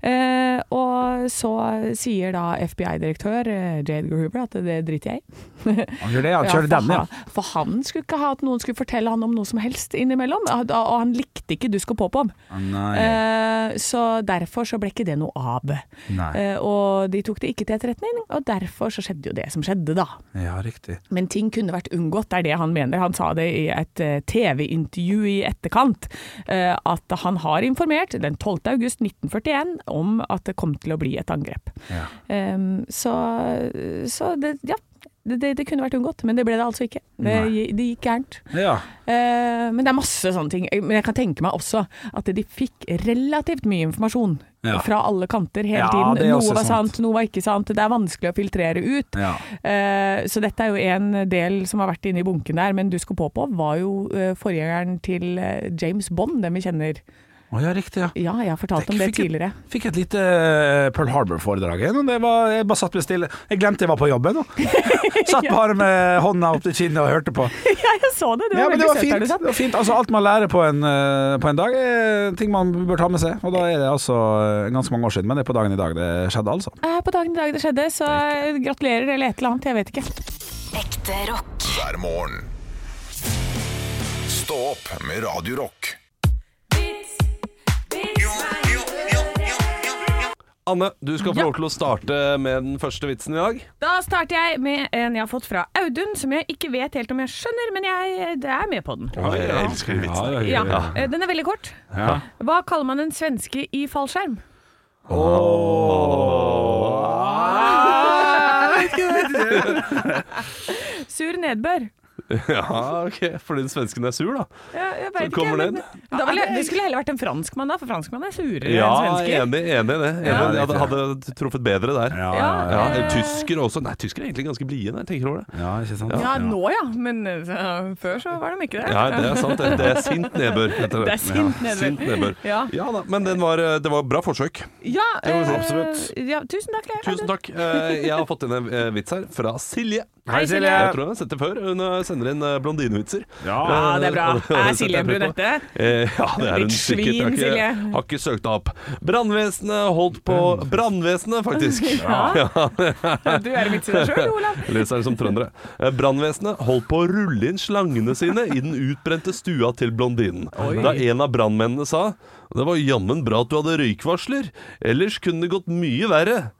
Speaker 5: Eh, og så sier da FBI-direktør eh, J. Edgar Hoover at det driter jeg i.
Speaker 3: Han gjør det, ja.
Speaker 5: Ja,
Speaker 3: Kjører
Speaker 5: for
Speaker 3: den, ja.
Speaker 5: han- For han skulle ikke ha at noen skulle fortelle han om noe som helst innimellom, og og han likte ikke Dusk og Popov.
Speaker 3: Nei.
Speaker 5: Eh, så derfor så ble ikke det noe av.
Speaker 3: Nei.
Speaker 5: Eh, og de tok det ikke til etterretning, og derfor så skjedde jo det som skjedde, da.
Speaker 3: Ja, riktig.
Speaker 5: Men ting kunne vært unngått, det er det han mener. Han sa det i et eh, TV-intervju i etterkant, eh, at han har informert den 12. august 1941 om at det kom til å bli et angrep.
Speaker 3: Ja.
Speaker 5: Ehm, så så det, ja, det, det, det kunne vært unngått, men det ble det altså ikke. Det,
Speaker 3: Nei.
Speaker 5: gi- det gikk gærent.
Speaker 3: ja.
Speaker 5: Eh, men det er masse sånne ting. Eh, Men jeg kan tenke meg også at de fikk relativt mye informasjon
Speaker 3: Ja.
Speaker 5: fra alle kanter hele
Speaker 3: Ja, det
Speaker 5: tiden.
Speaker 3: er også
Speaker 5: Noe var
Speaker 3: sant.
Speaker 5: sant, noe var ikke sant. Det er vanskelig å filtrere ut.
Speaker 3: Ja.
Speaker 5: Eh, så dette er jo en del som har vært inne i bunken der, men Dusko Popo var jo eh, forgjengeren til eh, James Bond, den vi kjenner.
Speaker 3: Å ja, riktig, ja.
Speaker 5: Ja, jeg har fortalt om
Speaker 3: Jeg
Speaker 5: det
Speaker 3: fikk et-
Speaker 5: tidligere. *laughs*
Speaker 3: Fikk et lite eh, Pearl Harbor-foredrag igjen, og det var, jeg bare satt meg stille. Jeg glemte jeg var på jobben.
Speaker 5: *laughs*
Speaker 3: og Satt bare med hånda opp til kinnet og hørte på.
Speaker 5: ja, jeg så det! Det var
Speaker 3: Ja, men det
Speaker 5: veldig
Speaker 3: var
Speaker 5: søtt
Speaker 3: fint.
Speaker 5: der du satt.
Speaker 3: Det var fint. Altså, alt man lærer på en, eh, på en dag, er ting man bør ta med seg. Og da er det altså eh, ganske mange år siden, men det er på dagen i dag det skjedde, altså.
Speaker 5: Eh, På dagen i dag det skjedde, så eh, gratulerer eller et eller annet, jeg vet ikke.
Speaker 10: Ekte rock.
Speaker 1: hver morgen. Stå opp med Radio Rock.
Speaker 2: Anne, du skal få lov til å starte med den første vitsen i dag.
Speaker 9: Da starter jeg med en jeg har fått fra Audun, som jeg ikke vet helt om jeg skjønner, men jeg det er med på den.
Speaker 2: jeg elsker vitsen.
Speaker 9: Ja, eh, Den er veldig kort. Hva kaller man en svenske i fallskjerm?
Speaker 2: Ah,
Speaker 5: *laughs*
Speaker 9: Sur nedbør.
Speaker 2: Ja, ok, fordi den svensken er sur, da.
Speaker 5: Jeg, jeg vet
Speaker 2: Så kommer
Speaker 5: ikke, men-
Speaker 2: den.
Speaker 5: Da ville, det skulle heller vært en franskmann, da, for franskmann er surere
Speaker 2: Ja,
Speaker 5: enn
Speaker 2: enig, enig
Speaker 5: svensker.
Speaker 2: i det. Enig,
Speaker 3: Ja.
Speaker 2: jeg hadde, hadde truffet bedre der.
Speaker 3: Ja, ja,
Speaker 5: Ja,
Speaker 3: ja.
Speaker 2: Ja,
Speaker 5: eh,
Speaker 2: Tysker også. Nei, tysker er egentlig ganske blide når jeg tenker over det.
Speaker 3: ja, ikke sant?
Speaker 5: Ja, nå ja, men eh, før så var de ikke *laughs* det.
Speaker 2: Ja, det er sant. Det, det er sint nedbør. heter
Speaker 5: Det er sint
Speaker 2: Ja,
Speaker 5: nedbør.
Speaker 2: sint nedbør.
Speaker 5: Ja.
Speaker 2: Ja da, men den var, eh, det var bra forsøk.
Speaker 5: Ja,
Speaker 3: Det var
Speaker 5: eh,
Speaker 3: absolutt.
Speaker 5: Ja, tusen takk, Leif.
Speaker 2: Tusen takk. Eh, Jeg har fått inn en eh, vits her fra Silje.
Speaker 3: Hei, Silje.
Speaker 2: Jeg tror jeg har sett det før. Hun eh, sender inn eh, blondinevitser.
Speaker 3: Ja.
Speaker 5: Ja, Ah, det er bra.
Speaker 2: Eh, og *laughs* det
Speaker 5: Er
Speaker 2: setter
Speaker 5: Silje
Speaker 2: jeg
Speaker 5: en
Speaker 2: pris på.
Speaker 5: brunette?
Speaker 2: Eh, Ja, det er hun
Speaker 5: Litt
Speaker 2: sikkert. Jeg har
Speaker 5: svin,
Speaker 2: ikke-
Speaker 5: Silje.
Speaker 2: Har ikke søkt opp. Brannvesenet holdt på Brannvesenet, faktisk.
Speaker 5: *laughs* Ja. Du er en vits i deg sjøl, *laughs* Olav.
Speaker 2: Leser det som trøndere. Eh, Brannvesenet holdt på å rulle inn slangene sine i den utbrente stua til blondinen. Da en av brannmennene sa Det var jammen bra at du hadde røykvarsler, ellers kunne det gått mye verre.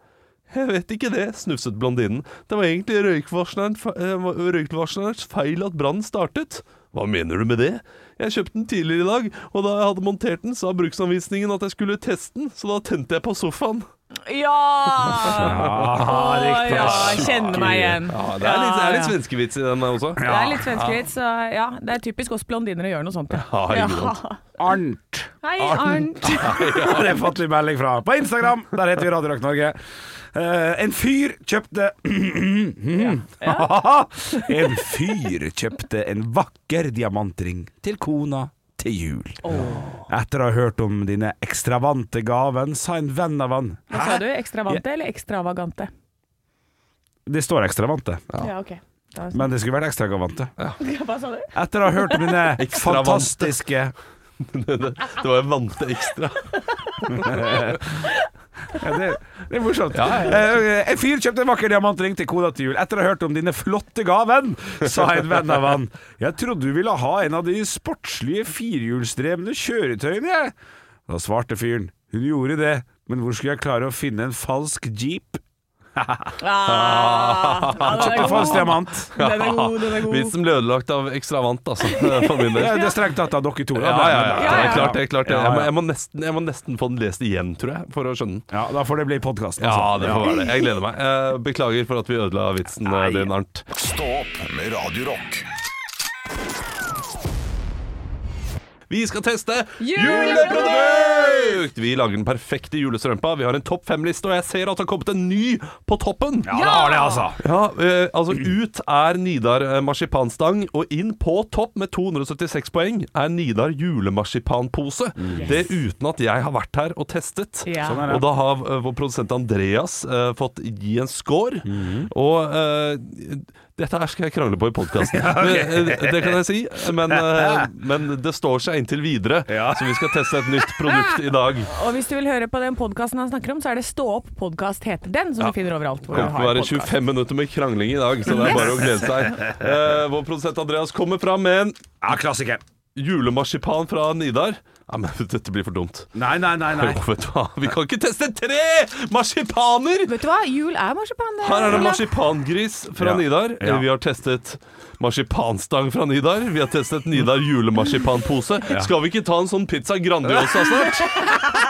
Speaker 2: Jeg vet ikke det, snufset blondinen. Det var egentlig røykvarsleren fe- eh, røykvarslerens feil at brannen startet. Hva mener du med det? Jeg kjøpte den tidligere i dag, og da jeg hadde montert den, sa bruksanvisningen at jeg skulle teste den, så da tente jeg på sofaen.
Speaker 5: Ja!
Speaker 3: Ah,
Speaker 5: Å,
Speaker 3: riktig.
Speaker 5: ja, kjenner meg igjen.
Speaker 2: Ja, det er litt, det er litt svenskevits i den også.
Speaker 5: Det er litt svenskevits, så ja, det er typisk oss blondiner å gjøre noe sånt.
Speaker 2: Ja, ikke sant.
Speaker 3: Arnt.
Speaker 5: Hei, Arnt.
Speaker 3: *laughs* Det har jeg fått litt melding fra på Instagram. Der heter vi Radio Rock Norge. Eh, en fyr kjøpte *clears throat* *laughs* En fyr kjøpte en vakker diamantring til kona til jul. Etter å ha hørt om dine ekstravante gaven, sa en venn av han
Speaker 5: Hva sa du? Ekstravante eller ekstravagante?
Speaker 3: Det står ekstravante,
Speaker 5: Ja, ok. Da-
Speaker 3: men det skulle vært ekstravagante.
Speaker 5: *laughs* Hva sa du?
Speaker 3: Etter å ha hørt om dine
Speaker 2: Ekstravante.
Speaker 3: fantastiske
Speaker 2: *laughs* Det, det, det var jeg vante ekstra.
Speaker 3: Ja, det, det er morsomt. Eh, en fyr kjøpte en vakker diamantring til kona til jul. Etter å ha hørt om dine flotte gaven, sa en venn av han. Jeg trodde du ville ha en av de sportslige firehjulsdrevne kjøretøyene, jeg. Da svarte fyren. Hun gjorde det, men hvor skulle jeg klare å finne en falsk jeep?
Speaker 5: Ah, ja, den er
Speaker 3: Kjøpte falsk
Speaker 5: god.
Speaker 3: diamant.
Speaker 5: Den er god, den er god.
Speaker 2: Vitsen ble ødelagt av ekstravant, altså, *laughs* for min
Speaker 3: Ja,
Speaker 2: del.
Speaker 3: det er strengt tatt av dere to.
Speaker 2: Ja,
Speaker 3: da.
Speaker 2: ja, ja, det er
Speaker 5: ja.
Speaker 2: klart det. Er klart det.
Speaker 3: Ja,
Speaker 2: Jeg, må,
Speaker 3: ja.
Speaker 2: jeg, må nesten, jeg må nesten få den lest igjen, tror jeg, for å skjønne den.
Speaker 3: Ja, da får det bli altså. podkasten.
Speaker 2: Ja, det får være det. Jeg gleder meg. Eh, Beklager for at vi ødela vitsen eh, din, Arnt.
Speaker 1: Stå opp med Radio Rock.
Speaker 2: Vi skal teste juleprodukt! Vi lager den perfekte julestrømpa. Vi har en topp fem-liste, og jeg ser at det har kommet en ny på toppen.
Speaker 3: Ja, det har det, altså.
Speaker 2: Ja, eh, altså ut er Nidar eh, marsipanstang, og inn på topp med 276 poeng er Nidar julemarsipanpose. Det uten at jeg har vært her og testet.
Speaker 5: Ja. Sånn
Speaker 3: Mm. er det.
Speaker 2: Og da har eh, vår produsent Andreas eh, fått gi en score. Og eh, dette her skal jeg krangle på i podkasten. Det kan jeg si, men, eh, men det står seg inntil videre.
Speaker 3: Ja.
Speaker 2: Så vi skal teste et nytt produkt i dag.
Speaker 5: Og hvis du vil høre på den podkasten han snakker om, så er det Stå opp podkast heter den, som du finner overalt. Hvor
Speaker 2: Det
Speaker 5: du
Speaker 2: kommer til å
Speaker 5: har
Speaker 2: være
Speaker 5: podcast.
Speaker 2: 25 minutter med krangling i dag, så det er bare å glede seg. Eh, vår produsent Andreas kommer fram med en
Speaker 3: Ja, klassiker.
Speaker 2: julemarsipan fra Nidar. Ja, men *laughs* dette blir for dumt.
Speaker 3: Nei, nei, nei. nei.
Speaker 2: Jo, vet du hva? Vi kan ikke teste tre marsipaner!
Speaker 5: Vet du hva, jul er marsipan. det
Speaker 2: Her er det
Speaker 5: Olav.
Speaker 2: marsipangris fra
Speaker 3: Ja.
Speaker 2: Nidar.
Speaker 3: Ja.
Speaker 2: Vi har testet marsipanstang fra Nidar. Vi har testet Nidar julemarsipanpose. Skal vi ikke ta en sånn pizza Grandiosa snart?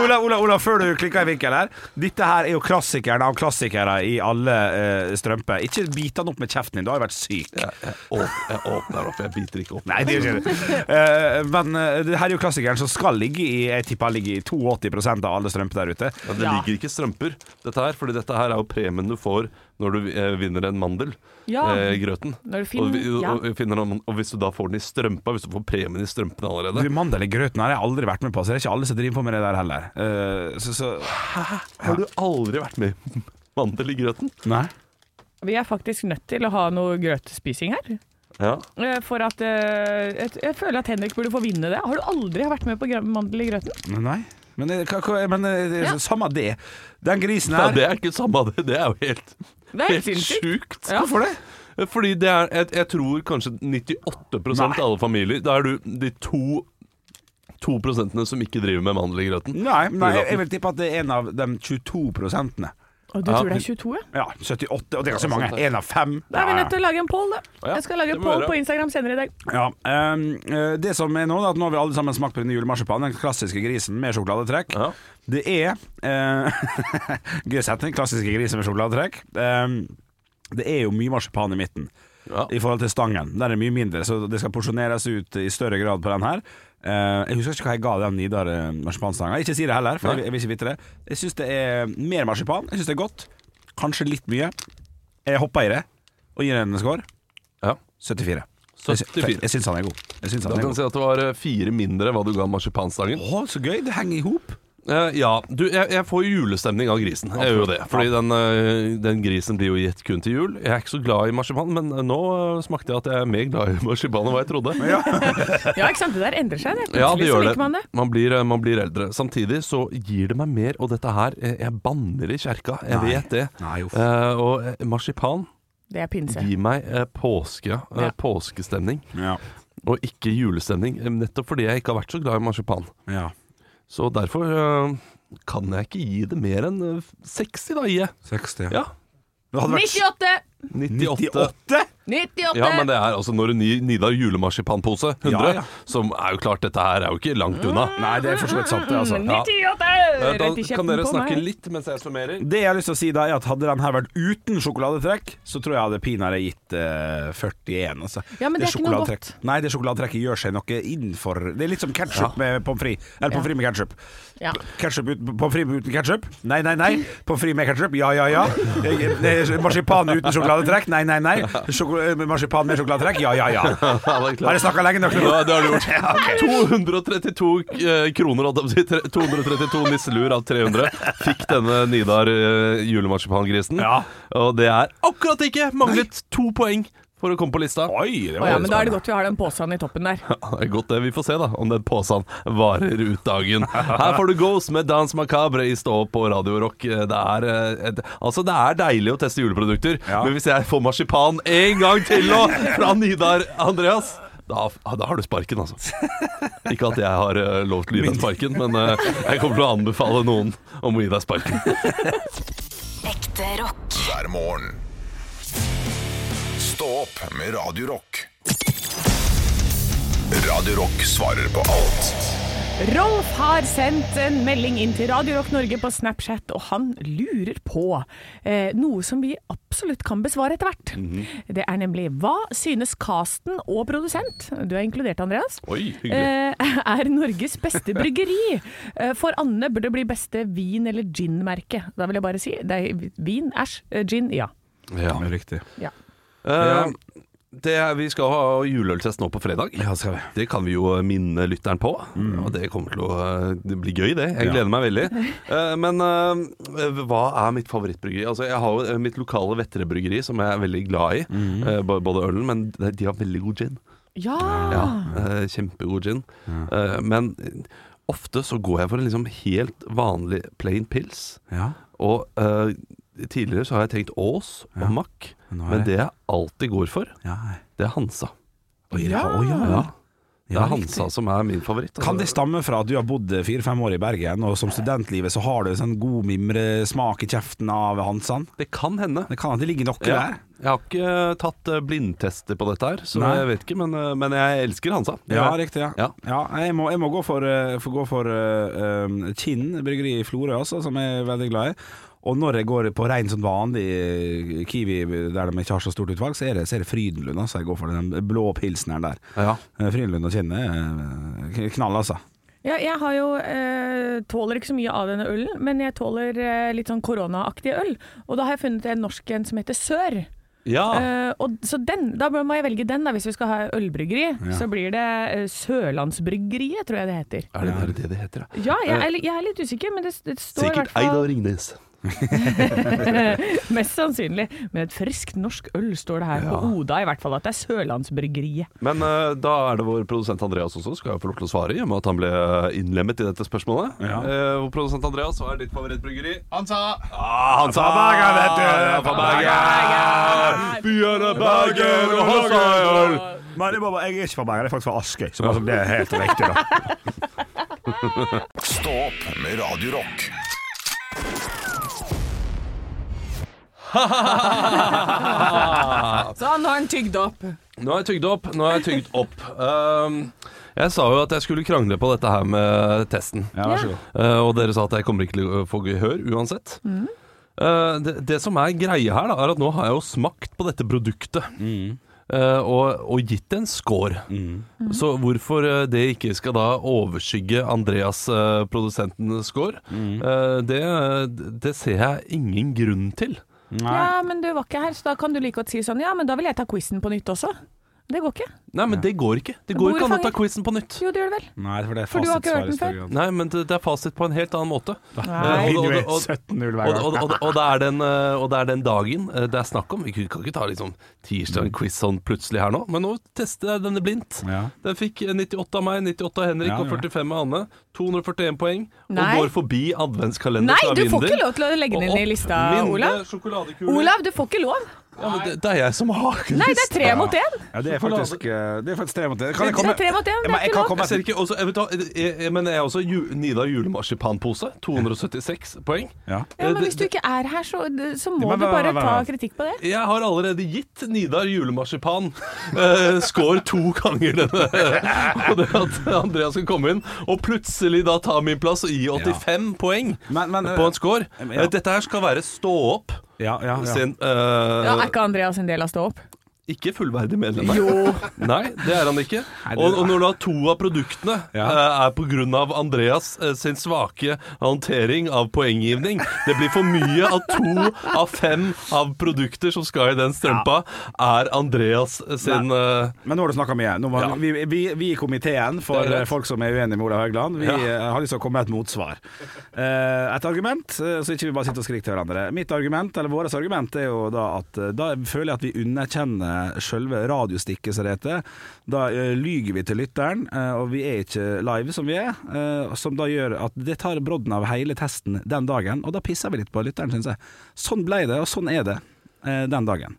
Speaker 3: Ola, Ola, Ola, før du klikker i vinkel her Dette her er jo klassikeren av klassikere i alle eh, strømper Ikke bit den opp med kjeften din, du har jo vært syk
Speaker 2: Å, *laughs* jeg åpner opp, jeg biter ikke opp.
Speaker 3: Nei, det gjør ikke det Eh, Men eh, det her er jo klassikeren som skal ligge i Jeg tipper han ligger i 82% av alle strømper der ute
Speaker 2: Ja, det ligger ikke strømper, dette her, fordi dette her er jo premien du får når du eh, vinner en mandel
Speaker 5: Ja.
Speaker 2: eh, i grøten.
Speaker 5: Når du
Speaker 2: og,
Speaker 5: finner-
Speaker 2: vi-
Speaker 5: ja.
Speaker 2: og, finner noen- og hvis du da får den i strømpa, hvis du får premien i strømpene allerede
Speaker 3: Du, mandel i grøten her har jeg aldri vært med på Så det er ikke alle som driver på med det der heller Eh, Så, så
Speaker 2: Har du aldri vært med i *laughs* mandel i grøten?
Speaker 3: Nei
Speaker 5: Vi er faktisk nødt til å ha noe grøtspising her.
Speaker 2: Ja.
Speaker 5: Eh, For at eh, et- Jeg føler at Henrik burde få vinne det. Har du aldri vært med på grø- mandel i grøten?
Speaker 3: Nei men, eh, hva, hva, men eh, det er så- samme det Den grisen
Speaker 2: Nei,
Speaker 3: her
Speaker 2: det er ikke samme av det. Det er jo helt,
Speaker 5: Det er helt
Speaker 2: helt
Speaker 5: sinnssykt.
Speaker 2: sjukt.
Speaker 5: Ja.
Speaker 3: Hvorfor det?
Speaker 2: Fordi det er Jeg, jeg tror kanskje 98 av alle familier Da er du de to To prosentene som ikke driver med mandel i grøten.
Speaker 3: Nei, nei, jeg jeg vil tippe at det er en av de 22 prosentene
Speaker 5: Og du
Speaker 2: Ja.
Speaker 5: tror det er 22, ja?
Speaker 3: Ja, 78, og det er ganske mange. Én av fem.
Speaker 5: Da er vi nødt til å lage en poll, da.
Speaker 2: ja.
Speaker 5: Jeg skal lage
Speaker 2: Det
Speaker 5: en
Speaker 2: må
Speaker 5: poll
Speaker 2: vi gjøre.
Speaker 5: på Instagram senere i dag.
Speaker 3: Ja, ehm, eh, det som er nå, da, at nå har vi alle sammen smakt på denne julemarsipanen, den klassiske grisen med sjokoladetrekk.
Speaker 2: Ja.
Speaker 3: Det er *laughs* uh, Gøy setning, klassiske grisen med sjokoladetrekk. Ehm, det er jo mye marsipan i midten.
Speaker 2: Ja.
Speaker 3: i forhold til stangen. Der er det mye mindre, så det skal porsjoneres ut i større grad på den her. Eh, jeg husker ikke hva jeg ga den Nidar eh, marsipanstanga. Ikke si det heller, for
Speaker 2: Nei.
Speaker 3: jeg, jeg vil ikke vite det. Jeg syns det er mer marsipan. Jeg syns det er godt. Kanskje litt mye. Jeg hopper i det og gir en score.
Speaker 2: Ja.
Speaker 3: 74.
Speaker 2: 74.
Speaker 3: Jeg, jeg syns han er god. Jeg synes
Speaker 2: Da
Speaker 3: han er
Speaker 2: kan jeg
Speaker 3: god.
Speaker 2: si at det var eh, fire mindre hva du ga marsipanstangen.
Speaker 3: Å, så gøy! Det henger i hop.
Speaker 2: Eh, ja, du, jeg, jeg får julestemning av grisen. Jeg gjør jo det. Fordi den, eh, den grisen blir jo gitt kun til jul. Jeg er ikke så glad i marsipan, men nå eh, smakte jeg at jeg er mer glad i *laughs* marsipan enn hva jeg trodde. Ja,
Speaker 5: Ja, ikke sant? Det der endrer seg, det.
Speaker 2: det
Speaker 5: Plutselig så
Speaker 2: gjør
Speaker 5: liker
Speaker 2: det.
Speaker 5: man det.
Speaker 2: Man blir, eh, man blir eldre. Samtidig så gir det meg mer, og dette her eh, Jeg banner i kjerka, jeg
Speaker 3: Nei.
Speaker 2: vet det.
Speaker 3: Nei, uff.
Speaker 2: Eh, og eh, marsipan
Speaker 5: Det er pinse.
Speaker 2: gir meg eh, påske, eh,
Speaker 5: Ja.
Speaker 2: påskestemning,
Speaker 3: Ja.
Speaker 2: og ikke julestemning. eh, Nettopp fordi jeg ikke har vært så glad i marsipan.
Speaker 3: ja.
Speaker 2: Så derfor eh, kan jeg ikke gi det mer enn eh, 60, da, gir jeg.
Speaker 3: 60.
Speaker 2: Ja.
Speaker 3: Det hadde vært
Speaker 5: 98!
Speaker 2: 98.
Speaker 3: 98!
Speaker 5: 98!
Speaker 2: Ja, men det er altså når en ny Nidar julemarsipanpose, 100,
Speaker 3: Ja, ja.
Speaker 2: som er jo klart dette her er jo ikke langt unna.
Speaker 3: Nei, det er for så vidt sant, det, altså.
Speaker 5: 98!
Speaker 2: Eh, Da
Speaker 5: Mm. Rett i kjeften
Speaker 2: kan dere
Speaker 5: på
Speaker 2: snakke
Speaker 5: meg.
Speaker 2: litt mens jeg summerer.
Speaker 3: Det jeg har lyst til å si da er at Hadde den her vært uten sjokoladetrekk, så tror jeg jeg hadde pinadø gitt eh, 41. Altså.
Speaker 5: Ja, men det er ikke noe
Speaker 3: sjokoladetrekk- Nei, det sjokoladetrekket gjør seg noe innenfor Det er litt som ketsjup med pommes frites. Eller pommes frites med ketsjup.
Speaker 5: Ja.
Speaker 3: Ketchup ut- Pommes frites uten ketsjup? Nei, nei, nei. Pommes frites med ketsjup? Ja, ja, ja. Jeg- det er Marsipan uten sjokoladetrekk? Nei, nei, nei. Sjoko eh, marsipan med sjokoladetrekk? Ja, ja, ja.
Speaker 2: Ja, det er
Speaker 3: Har jeg
Speaker 2: klart.
Speaker 3: snakka lenge nok nå?
Speaker 2: Ja, det har du *laughs* gjort. 232 eh, kroner, holdt jeg på å si. 232 nisselur av 300 fikk denne Nidar eh, julemarsipangrisen.
Speaker 3: Ja.
Speaker 2: Og det er akkurat ikke! Manglet to poeng for å komme på lista.
Speaker 3: Oi, det
Speaker 5: Å
Speaker 3: var
Speaker 5: ja, men da er det godt vi har den posen i toppen der.
Speaker 2: Ja, det er godt det. Vi får se da om den påsen varer ut dagen. Her får du Ghost med Dans Macabre i Stå opp på Radio Rock. Det er, eh, et, altså, det er deilig å teste juleprodukter,
Speaker 3: Ja.
Speaker 2: men hvis jeg får marsipan en gang til nå fra Nidar Andreas da, da har du sparken, altså. Ikke at jeg har eh, lov til å gi deg sparken, men eh, jeg kommer til å anbefale noen om å gi deg sparken.
Speaker 10: Ekte rock.
Speaker 1: hver morgen. Stå opp med Radio Rock. Radio Rock svarer på alt.
Speaker 5: Rolf har sendt en melding inn til Radio Rock Norge på Snapchat, og han lurer på eh, noe som vi absolutt kan besvare etter hvert. Det er nemlig hva synes casten og produsent, du er inkludert Andreas,
Speaker 2: Oi, hyggelig.
Speaker 5: eh, *laughs* er Norges beste bryggeri? Eh, For Anne burde det bli beste vin- eller gin-merke. Da vil jeg bare si det er vin, æsj, eh, gin, ja.
Speaker 2: Ja.
Speaker 3: Riktig.
Speaker 2: Eh, det, er- vi skal ha juleøltest nå på fredag.
Speaker 3: Ja, det skal vi. Mm.
Speaker 2: Det kan vi jo eh, minne lytteren på, og det kommer til å eh, det blir gøy, det. Jeg
Speaker 3: Ja.
Speaker 2: gleder meg
Speaker 3: *laughs*
Speaker 2: veldig. Eh, Men eh, hva er mitt favorittbryggeri? Altså, jeg har jo eh, mitt lokale Vetterebryggeri, som jeg er veldig glad i.
Speaker 3: Mm.
Speaker 2: eh, bo- Både ølen, men de de har veldig god gin.
Speaker 5: Ja!
Speaker 3: Ah.
Speaker 2: Eh, Kjempegod gin. Eh, Men ofte så går jeg for en liksom helt vanlig plain pils.
Speaker 3: Ja.
Speaker 2: Og eh, tidligere så har jeg tenkt Ås og Mack,
Speaker 3: Men nå er
Speaker 2: men
Speaker 3: det-
Speaker 2: det jeg alltid går for,
Speaker 3: ja.
Speaker 2: det er Hansa.
Speaker 3: Oi, det- oi, ja.
Speaker 2: Ja. Det
Speaker 3: Ja,
Speaker 2: er Hansa som er min favoritt.
Speaker 3: Kan
Speaker 2: altså.
Speaker 3: det stamme fra at du har bodd fire-fem år i Bergen, og som studentlivet så har du en sånn god mimresmak i kjeften av Hansan?
Speaker 2: Det kan hende.
Speaker 3: Det kan at det ligger noe
Speaker 2: Ja.
Speaker 3: der.
Speaker 2: Jeg har ikke eh, tatt eh, blindtester på dette her, så
Speaker 3: Nei.
Speaker 2: jeg vet ikke, men, eh, men jeg elsker Hansa.
Speaker 3: Ja,
Speaker 2: Jeg-
Speaker 3: riktig. Ja.
Speaker 2: Ja.
Speaker 3: jeg, må, jeg må gå for, eh, for, gå for eh, um, Kinn bryggeri i Florø, altså, som jeg er veldig glad i. Og når jeg går på rein sånn vanlig eh, Kiwi der de ikke har så stort utvalg, så er det, så er det Frydenlund. Altså, jeg går for den blå pilsneren der.
Speaker 2: Ja.
Speaker 3: Eh, Frydenlund og Kinn er eh, knall, altså.
Speaker 5: Ja, jeg har jo eh, tåler ikke så mye av denne ølen, men jeg tåler eh, litt sånn koronaaktig øl. Og da har jeg funnet en norsk en som heter Sør.
Speaker 2: Ja.
Speaker 5: Eh, og, så den, da må jeg velge den da, hvis vi skal ha ølbryggeri. Så blir det eh, Sørlandsbryggeriet, tror jeg det heter.
Speaker 2: Er det er det det det heter? ja?
Speaker 5: Ja, jeg er, li- jeg er litt usikker, men det, det står i
Speaker 2: Sikkert
Speaker 5: hvert
Speaker 2: eid
Speaker 5: fall
Speaker 2: av Ringnes.
Speaker 5: mest sannsynlig. Men et friskt norsk øl står det her på Oda, i hvert fall at det er Sørlandsbryggeriet.
Speaker 2: Men eh, da er det vår produsent Andreas også, skal jo få lov til å svare, i og med at han ble eh, innlemmet i dette spørsmålet.
Speaker 3: Ja.
Speaker 2: Eh, og produsent Andreas, hva er ditt favorittbryggeri?
Speaker 1: Hansa!
Speaker 2: Ah, Hansa!
Speaker 3: Bergen, vet du!
Speaker 2: Ja, fra Bergen! Byen er Bergen, og Hansa er øl!
Speaker 3: Nei, det er bare, jeg er ikke fra Bergen, jeg er faktisk fra Askøy. Så bare, sånn, det er *laughs* helt riktig, da.
Speaker 1: Stå opp med Radio Rock.
Speaker 5: Så nå har han tygd opp.
Speaker 2: Nå har jeg tygd opp. Nå har jeg tygd opp. Ehm, jeg sa jo at jeg skulle krangle på dette her med testen.
Speaker 3: Ja, vær så god.
Speaker 2: Eh, og dere sa at jeg kommer ikke til å få gehør uansett. Eh, det, det som er greia her, da, er at nå har jeg jo smakt på dette produktet. eh, og, og gitt en score. Så hvorfor eh, det ikke skal da overskygge Andreas, eh, produsentens score, eh, det, det ser jeg ingen grunn til.
Speaker 3: Nei.
Speaker 5: Ja, men du var ikke her, så da kan du like godt si sånn Ja, men da vil jeg ta quizen på nytt også. Det går ikke.
Speaker 2: Nei, men det går ikke. Det går
Speaker 5: Bordet
Speaker 2: ikke an å
Speaker 5: fanger.
Speaker 2: ta quizen på nytt.
Speaker 5: Jo, det gjør det vel.
Speaker 3: Nei, for det er
Speaker 5: For du har ikke
Speaker 3: fasitsvar
Speaker 5: hørt
Speaker 3: i
Speaker 5: den
Speaker 3: større
Speaker 5: før?
Speaker 3: grad.
Speaker 2: Nei, men det det er fasit på en helt annen måte. Eh, og-
Speaker 5: Nei.
Speaker 2: og-
Speaker 3: Vinner jo
Speaker 2: og-
Speaker 3: 17-0 hver
Speaker 2: Og,
Speaker 3: gang.
Speaker 2: og, og, og, det er den, eh, og det er den dagen eh, det er snakk om. Vi kan ikke ta liksom tirsdag-quiz sånn plutselig her nå, men nå tester jeg denne blindt.
Speaker 3: Ja.
Speaker 2: Den fikk eh, 98 av meg, 98 av Henrik
Speaker 3: Ja,
Speaker 2: og
Speaker 3: ja.
Speaker 2: 45 av Anne. 241 poeng.
Speaker 5: Nei.
Speaker 2: Og går forbi adventskalender
Speaker 5: Nei,
Speaker 2: fra
Speaker 5: du får
Speaker 2: Vinder.
Speaker 5: ikke lov til å legge den
Speaker 2: Og
Speaker 5: inn i
Speaker 2: opp
Speaker 5: lista,
Speaker 2: Minde,
Speaker 5: Olav.
Speaker 2: sjokoladekuler.
Speaker 5: Olav, du får ikke lov.
Speaker 2: Ja, men det, det er jeg som har
Speaker 5: Nei, det er tre mot én.
Speaker 3: Ja, det er faktisk eh, Det er faktisk tre mot det. Kan jeg
Speaker 5: Det
Speaker 3: komme
Speaker 5: er tre mot én, det
Speaker 3: Men
Speaker 5: er
Speaker 3: jeg
Speaker 5: ikke
Speaker 3: kan
Speaker 5: lov.
Speaker 3: komme
Speaker 2: Jeg ser ikke, også, jeg vet, hva, jeg, jeg, men jeg er også ju, Nidar julemarsipanpose. 276 poeng.
Speaker 3: Ja.
Speaker 5: Ja, men
Speaker 2: Eh,
Speaker 5: hvis du
Speaker 2: det-
Speaker 5: ikke er her, så, så må
Speaker 3: Men
Speaker 5: du
Speaker 3: hva-
Speaker 5: bare
Speaker 3: hva- hva-
Speaker 5: ta
Speaker 3: hva?
Speaker 5: kritikk på det.
Speaker 2: Jeg har allerede gitt Nidar julemarsipan eh, score to ganger denne. *laughs* Og det at Andreas skal komme inn og plutselig da ta min plass og gi 85 poeng
Speaker 3: Men- men, eh,
Speaker 2: på en score.
Speaker 3: ja.
Speaker 2: Eh, Dette her skal være stå opp
Speaker 3: Ja, ja, ja.
Speaker 2: sin eh,
Speaker 5: Ja, er ikke Andreas en del av Stå opp?
Speaker 2: Ikke fullverdig medlem. Jo. *laughs* Nei, det er han ikke.
Speaker 3: det-
Speaker 2: Og, og når da to av produktene
Speaker 3: Ja.
Speaker 2: eh, er på grunn av Andreas eh, sin svake håndtering av poenggivning Det blir for mye at to av fem av produkter som skal i den strømpa, er Andreas sin eh,
Speaker 3: Men nå har du snakka mye. Nå må,
Speaker 2: Ja.
Speaker 3: vi, vi, vi i komiteen for
Speaker 2: Det er greit.
Speaker 3: folk som er uenige med Olav Haugland, vi
Speaker 2: Ja.
Speaker 3: eh, har lyst til å komme med et motsvar. Eh, et argument, eh, så ikke vi bare sitter og skriker til hverandre. Mitt argument, eller vårt argument, er jo da at eh, da føler jeg at vi underkjenner sjølve radiostikket, som det heter. Da eh, lyger vi til lytteren, eh, og vi er ikke live som vi er. eh, som da gjør at det tar brodden av hele testen den dagen, og da pisser vi litt på lytteren, syns jeg. Sånn ble det, og sånn er det eh, den dagen.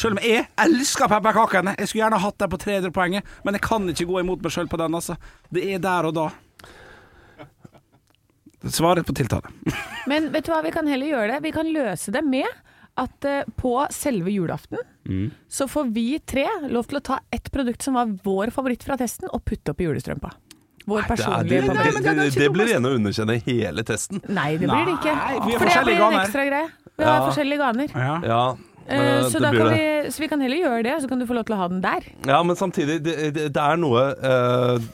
Speaker 3: Selv om jeg elsker pepperkakene. Jeg skulle gjerne hatt dem på 300 poenget, men jeg kan ikke gå imot meg sjøl på den. altså. Det er der og da. Svaret på tiltale.
Speaker 5: Men vet du hva, vi kan heller gjøre det. Vi kan løse det med at eh, på selve julaften så får vi tre lov til å ta ett produkt som var vår favoritt fra testen, og putte opp i julestrømpa. Vår
Speaker 2: det, er,
Speaker 5: personlige
Speaker 2: det, det,
Speaker 5: favoritt.
Speaker 2: det, det blir rene å underkjenne hele testen.
Speaker 5: Nei, det blir det ikke.
Speaker 3: Nei, vi har
Speaker 5: For det
Speaker 3: forskjellige
Speaker 5: blir en
Speaker 3: ganer.
Speaker 5: ekstra greie. Vi har
Speaker 2: Ja.
Speaker 5: forskjellige ganer.
Speaker 2: Ja, men,
Speaker 5: Eh,
Speaker 2: eh,
Speaker 5: så,
Speaker 2: det
Speaker 5: da
Speaker 2: blir
Speaker 5: kan
Speaker 2: det.
Speaker 5: vi, så vi kan heller gjøre det, så kan du få lov til å ha den der.
Speaker 2: Ja, men samtidig, det, det, det er noe eh,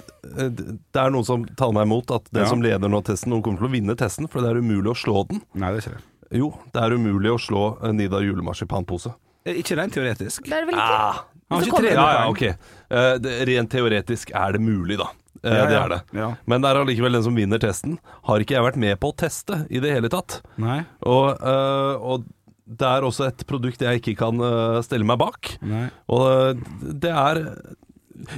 Speaker 2: det- Det er noe som taler meg imot at den
Speaker 3: Ja.
Speaker 2: som leder nå testen, noen kommer til å vinne testen, for det er umulig å slå den.
Speaker 3: Nei, det er ikke det.
Speaker 2: Jo, det er umulig å slå en Nidar julemarsipanpose.
Speaker 3: Eh, Ikke rent teoretisk.
Speaker 5: Det er det vel ikke?
Speaker 3: Han har
Speaker 5: Så
Speaker 3: ikke
Speaker 5: kommer-
Speaker 2: Ja,
Speaker 3: 300
Speaker 2: ja,
Speaker 3: poeng.
Speaker 2: ok. Eh, det, rent teoretisk er det mulig, da. Eh,
Speaker 3: Ja,
Speaker 2: Det
Speaker 3: ja.
Speaker 2: er det.
Speaker 3: Ja.
Speaker 2: Men det er allikevel den som vinner testen, har ikke jeg vært med på å teste i det hele tatt.
Speaker 3: Nei.
Speaker 2: Og, eh, og det er også et produkt jeg ikke kan eh, stelle meg bak.
Speaker 3: Nei.
Speaker 2: Og eh, det er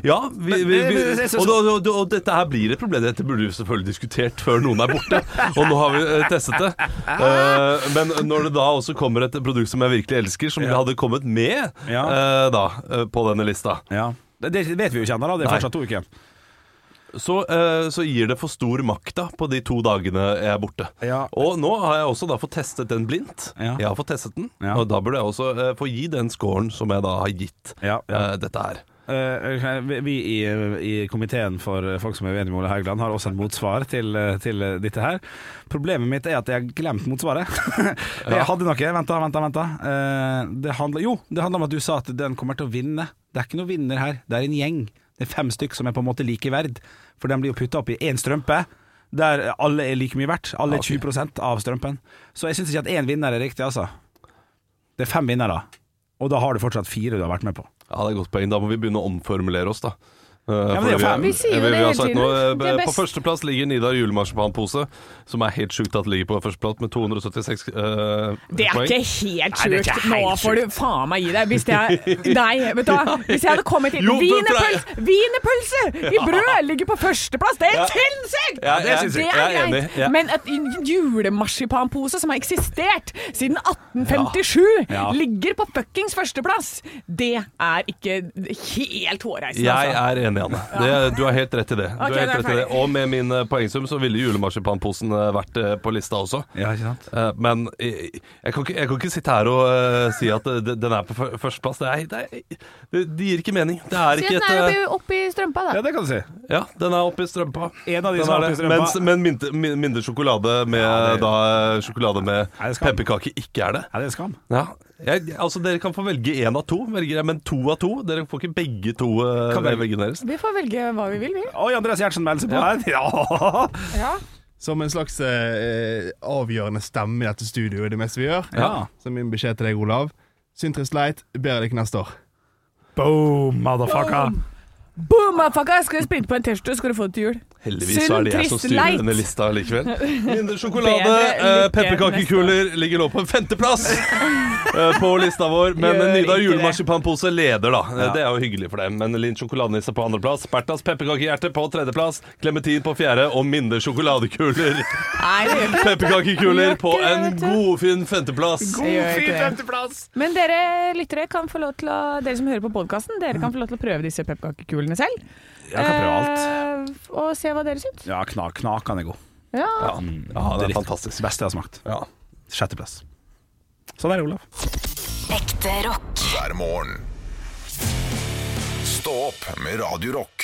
Speaker 2: ja, vi, vi,
Speaker 3: men-
Speaker 2: vi,
Speaker 3: men- jeg synes-
Speaker 2: og, og, og, og dette her blir et problem. Dette burde vi selvfølgelig diskutert før noen er borte, og nå har vi eh, testet det. Eh, men når det da også kommer et produkt som jeg virkelig elsker, som hadde kommet med
Speaker 3: Ja.
Speaker 2: eh, da, eh, på denne lista,
Speaker 3: Ja. Det, det vet vi jo ikke ennå, da. Det er
Speaker 2: Nei.
Speaker 3: fortsatt to uker igjen.
Speaker 2: så, eh, så gir det for stor makt da på de to dagene jeg er borte.
Speaker 3: Ja.
Speaker 2: Og nå har jeg også da fått testet den blindt.
Speaker 3: Ja.
Speaker 2: Jeg har fått testet den,
Speaker 3: Ja.
Speaker 2: og da burde jeg også eh, få gi den scoren som jeg da har gitt
Speaker 3: Ja, ja.
Speaker 2: eh, dette her.
Speaker 3: Eh, vi- vi i, i komiteen for folk som er uenige med Ole Haugland, har også et motsvar til, eh, til dette her. Problemet mitt er at jeg har glemt motsvaret. *laughs* jeg hadde noe. Vent, da, vent, da, vent. da. Eh, det handla- jo, det handla om at du sa at den kommer til å vinne. Det er ikke noen vinner her, det er en gjeng. Det er fem stykk som er på en måte like verd, for den blir jo putta opp i én strømpe. Der alle er like mye verdt. Alle er 20 av strømpen. Så jeg syns ikke at én vinner er riktig, altså. Det er fem vinnere, og da har du fortsatt fire du har vært med på.
Speaker 2: Ja, det er et godt poeng. Da må vi begynne å omformulere oss, da. Eh,
Speaker 3: men det er jo
Speaker 2: fordi
Speaker 3: faen-
Speaker 5: Vi sier jo
Speaker 2: vi-
Speaker 5: det
Speaker 2: vi har
Speaker 5: hele
Speaker 2: sagt
Speaker 5: tiden.
Speaker 2: nå, eh,
Speaker 5: Det er
Speaker 2: På
Speaker 5: best.
Speaker 2: førsteplass ligger Nidar julemarsipanpose, som er helt sjukt at det ligger på førsteplass med 276 eh,
Speaker 5: Det er
Speaker 2: poeng.
Speaker 5: ikke helt
Speaker 3: Nei, det
Speaker 5: sjukt.
Speaker 3: er ikke
Speaker 5: Nå
Speaker 3: helt
Speaker 5: får du faen meg gi deg. Hvis jeg Nei, vet du hva. Hvis jeg hadde kommet inn
Speaker 2: Jo, men for-
Speaker 5: Wienerpølse! Wienerpølse i brød ligger på førsteplass! Det er sinnssykt!
Speaker 2: Ja, det synes jeg. Jeg er enig. Ja.
Speaker 5: Men at en julemarsipanpose som har eksistert siden 1857,
Speaker 3: Ja. Ja.
Speaker 5: ligger på fuckings førsteplass, det er ikke helt
Speaker 2: Jeg
Speaker 5: hårreisende, altså.
Speaker 2: er enig, Anne. Det, du har helt rett i det. Du
Speaker 5: Ok,
Speaker 2: har helt
Speaker 5: da er
Speaker 2: rett i det.
Speaker 5: ferdig.
Speaker 2: Og med min eh, poengsum så ville julemarsipanposen eh, vært eh, på lista også.
Speaker 3: Ja, ikke sant?
Speaker 2: Eh, Men jeg, jeg, kan ikke, jeg kan ikke sitte her og eh, si at eh, d- den er på fø- førsteplass. Det, er- det, er- det, det gir ikke mening. Det er ikke
Speaker 5: Den
Speaker 2: et
Speaker 5: er
Speaker 2: eh,
Speaker 5: oppi, oppi strømpa, da.
Speaker 3: Ja, det kan du si.
Speaker 2: Ja, den er oppi strømpa.
Speaker 3: En av de
Speaker 2: Den
Speaker 3: som
Speaker 2: er
Speaker 3: er oppi
Speaker 2: det.
Speaker 3: strømpa.
Speaker 2: Mens, men mindre, min- mindre sjokolade med,
Speaker 3: Ja, det-
Speaker 2: da, eh, sjokolade med
Speaker 3: Nei, det skal-
Speaker 2: pepperkake ikke er det.
Speaker 3: Ja, det er skam.
Speaker 2: Ja, Jeg, altså Dere kan få velge én av to, velger jeg, men to av to. Dere får ikke begge to eh,
Speaker 3: Kan velge.
Speaker 2: veggene deres.
Speaker 5: Vi får velge hva vi vil, vi.
Speaker 3: Oi, Andreas Gjertsen melder seg på her. Ja.
Speaker 5: Ja.
Speaker 6: Som en slags eh, avgjørende stemme i dette studioet, i det meste vi gjør.
Speaker 3: Ja.
Speaker 6: Så min beskjed til deg, Olav. Sintris Leit, bedre lykke neste år.
Speaker 3: Boom, motherfucker.
Speaker 5: Boom, motherfucker! Jeg Skal sprinte på en T-skjorte, skal du få det til jul.
Speaker 2: Heldigvis så er det jeg som
Speaker 5: Sunn, trist
Speaker 2: styrer
Speaker 5: leit.
Speaker 2: denne lista
Speaker 3: *laughs*
Speaker 2: likevel. Mindre sjokolade.
Speaker 5: Bedre
Speaker 2: eh,
Speaker 5: lykke
Speaker 2: Pepperkakekuler ligger nå på en femteplass eh, på lista vår. Men
Speaker 5: Gjør
Speaker 2: Nidar
Speaker 5: ikke det.
Speaker 2: julemarsipanpose leder, da. Eh,
Speaker 3: Ja.
Speaker 2: Det er jo hyggelig for dem. Men Linn sjokoladenisse på andreplass. Bertas pepperkakehjerte på tredjeplass. Klementin på fjerde. Og Minde sjokoladekuler.
Speaker 5: Nei, det gjør ikke det.
Speaker 2: Pepperkakekuler
Speaker 5: Gjør
Speaker 2: på
Speaker 5: ikke det,
Speaker 2: en
Speaker 5: vet du.
Speaker 2: godfin femteplass.
Speaker 5: Det gjør ikke det.
Speaker 3: femteplass!
Speaker 5: Men dere lyttere kan få lov til å Dere som hører på podkasten, dere kan få lov til å prøve disse pepperkakekulene selv.
Speaker 3: Jeg kan prøve alt.
Speaker 5: Eh, og se hva dere syns.
Speaker 3: Ja, knak, knakan er god. Mm.
Speaker 5: Ja.
Speaker 2: Ja, ja det er
Speaker 3: Dritt.
Speaker 2: fantastisk.
Speaker 3: Beste jeg har smakt.
Speaker 2: Ja.
Speaker 3: Sjetteplass. Sånn er det, Olav.
Speaker 10: Ekte rock.
Speaker 1: hver morgen. Stå opp med Radio Rock.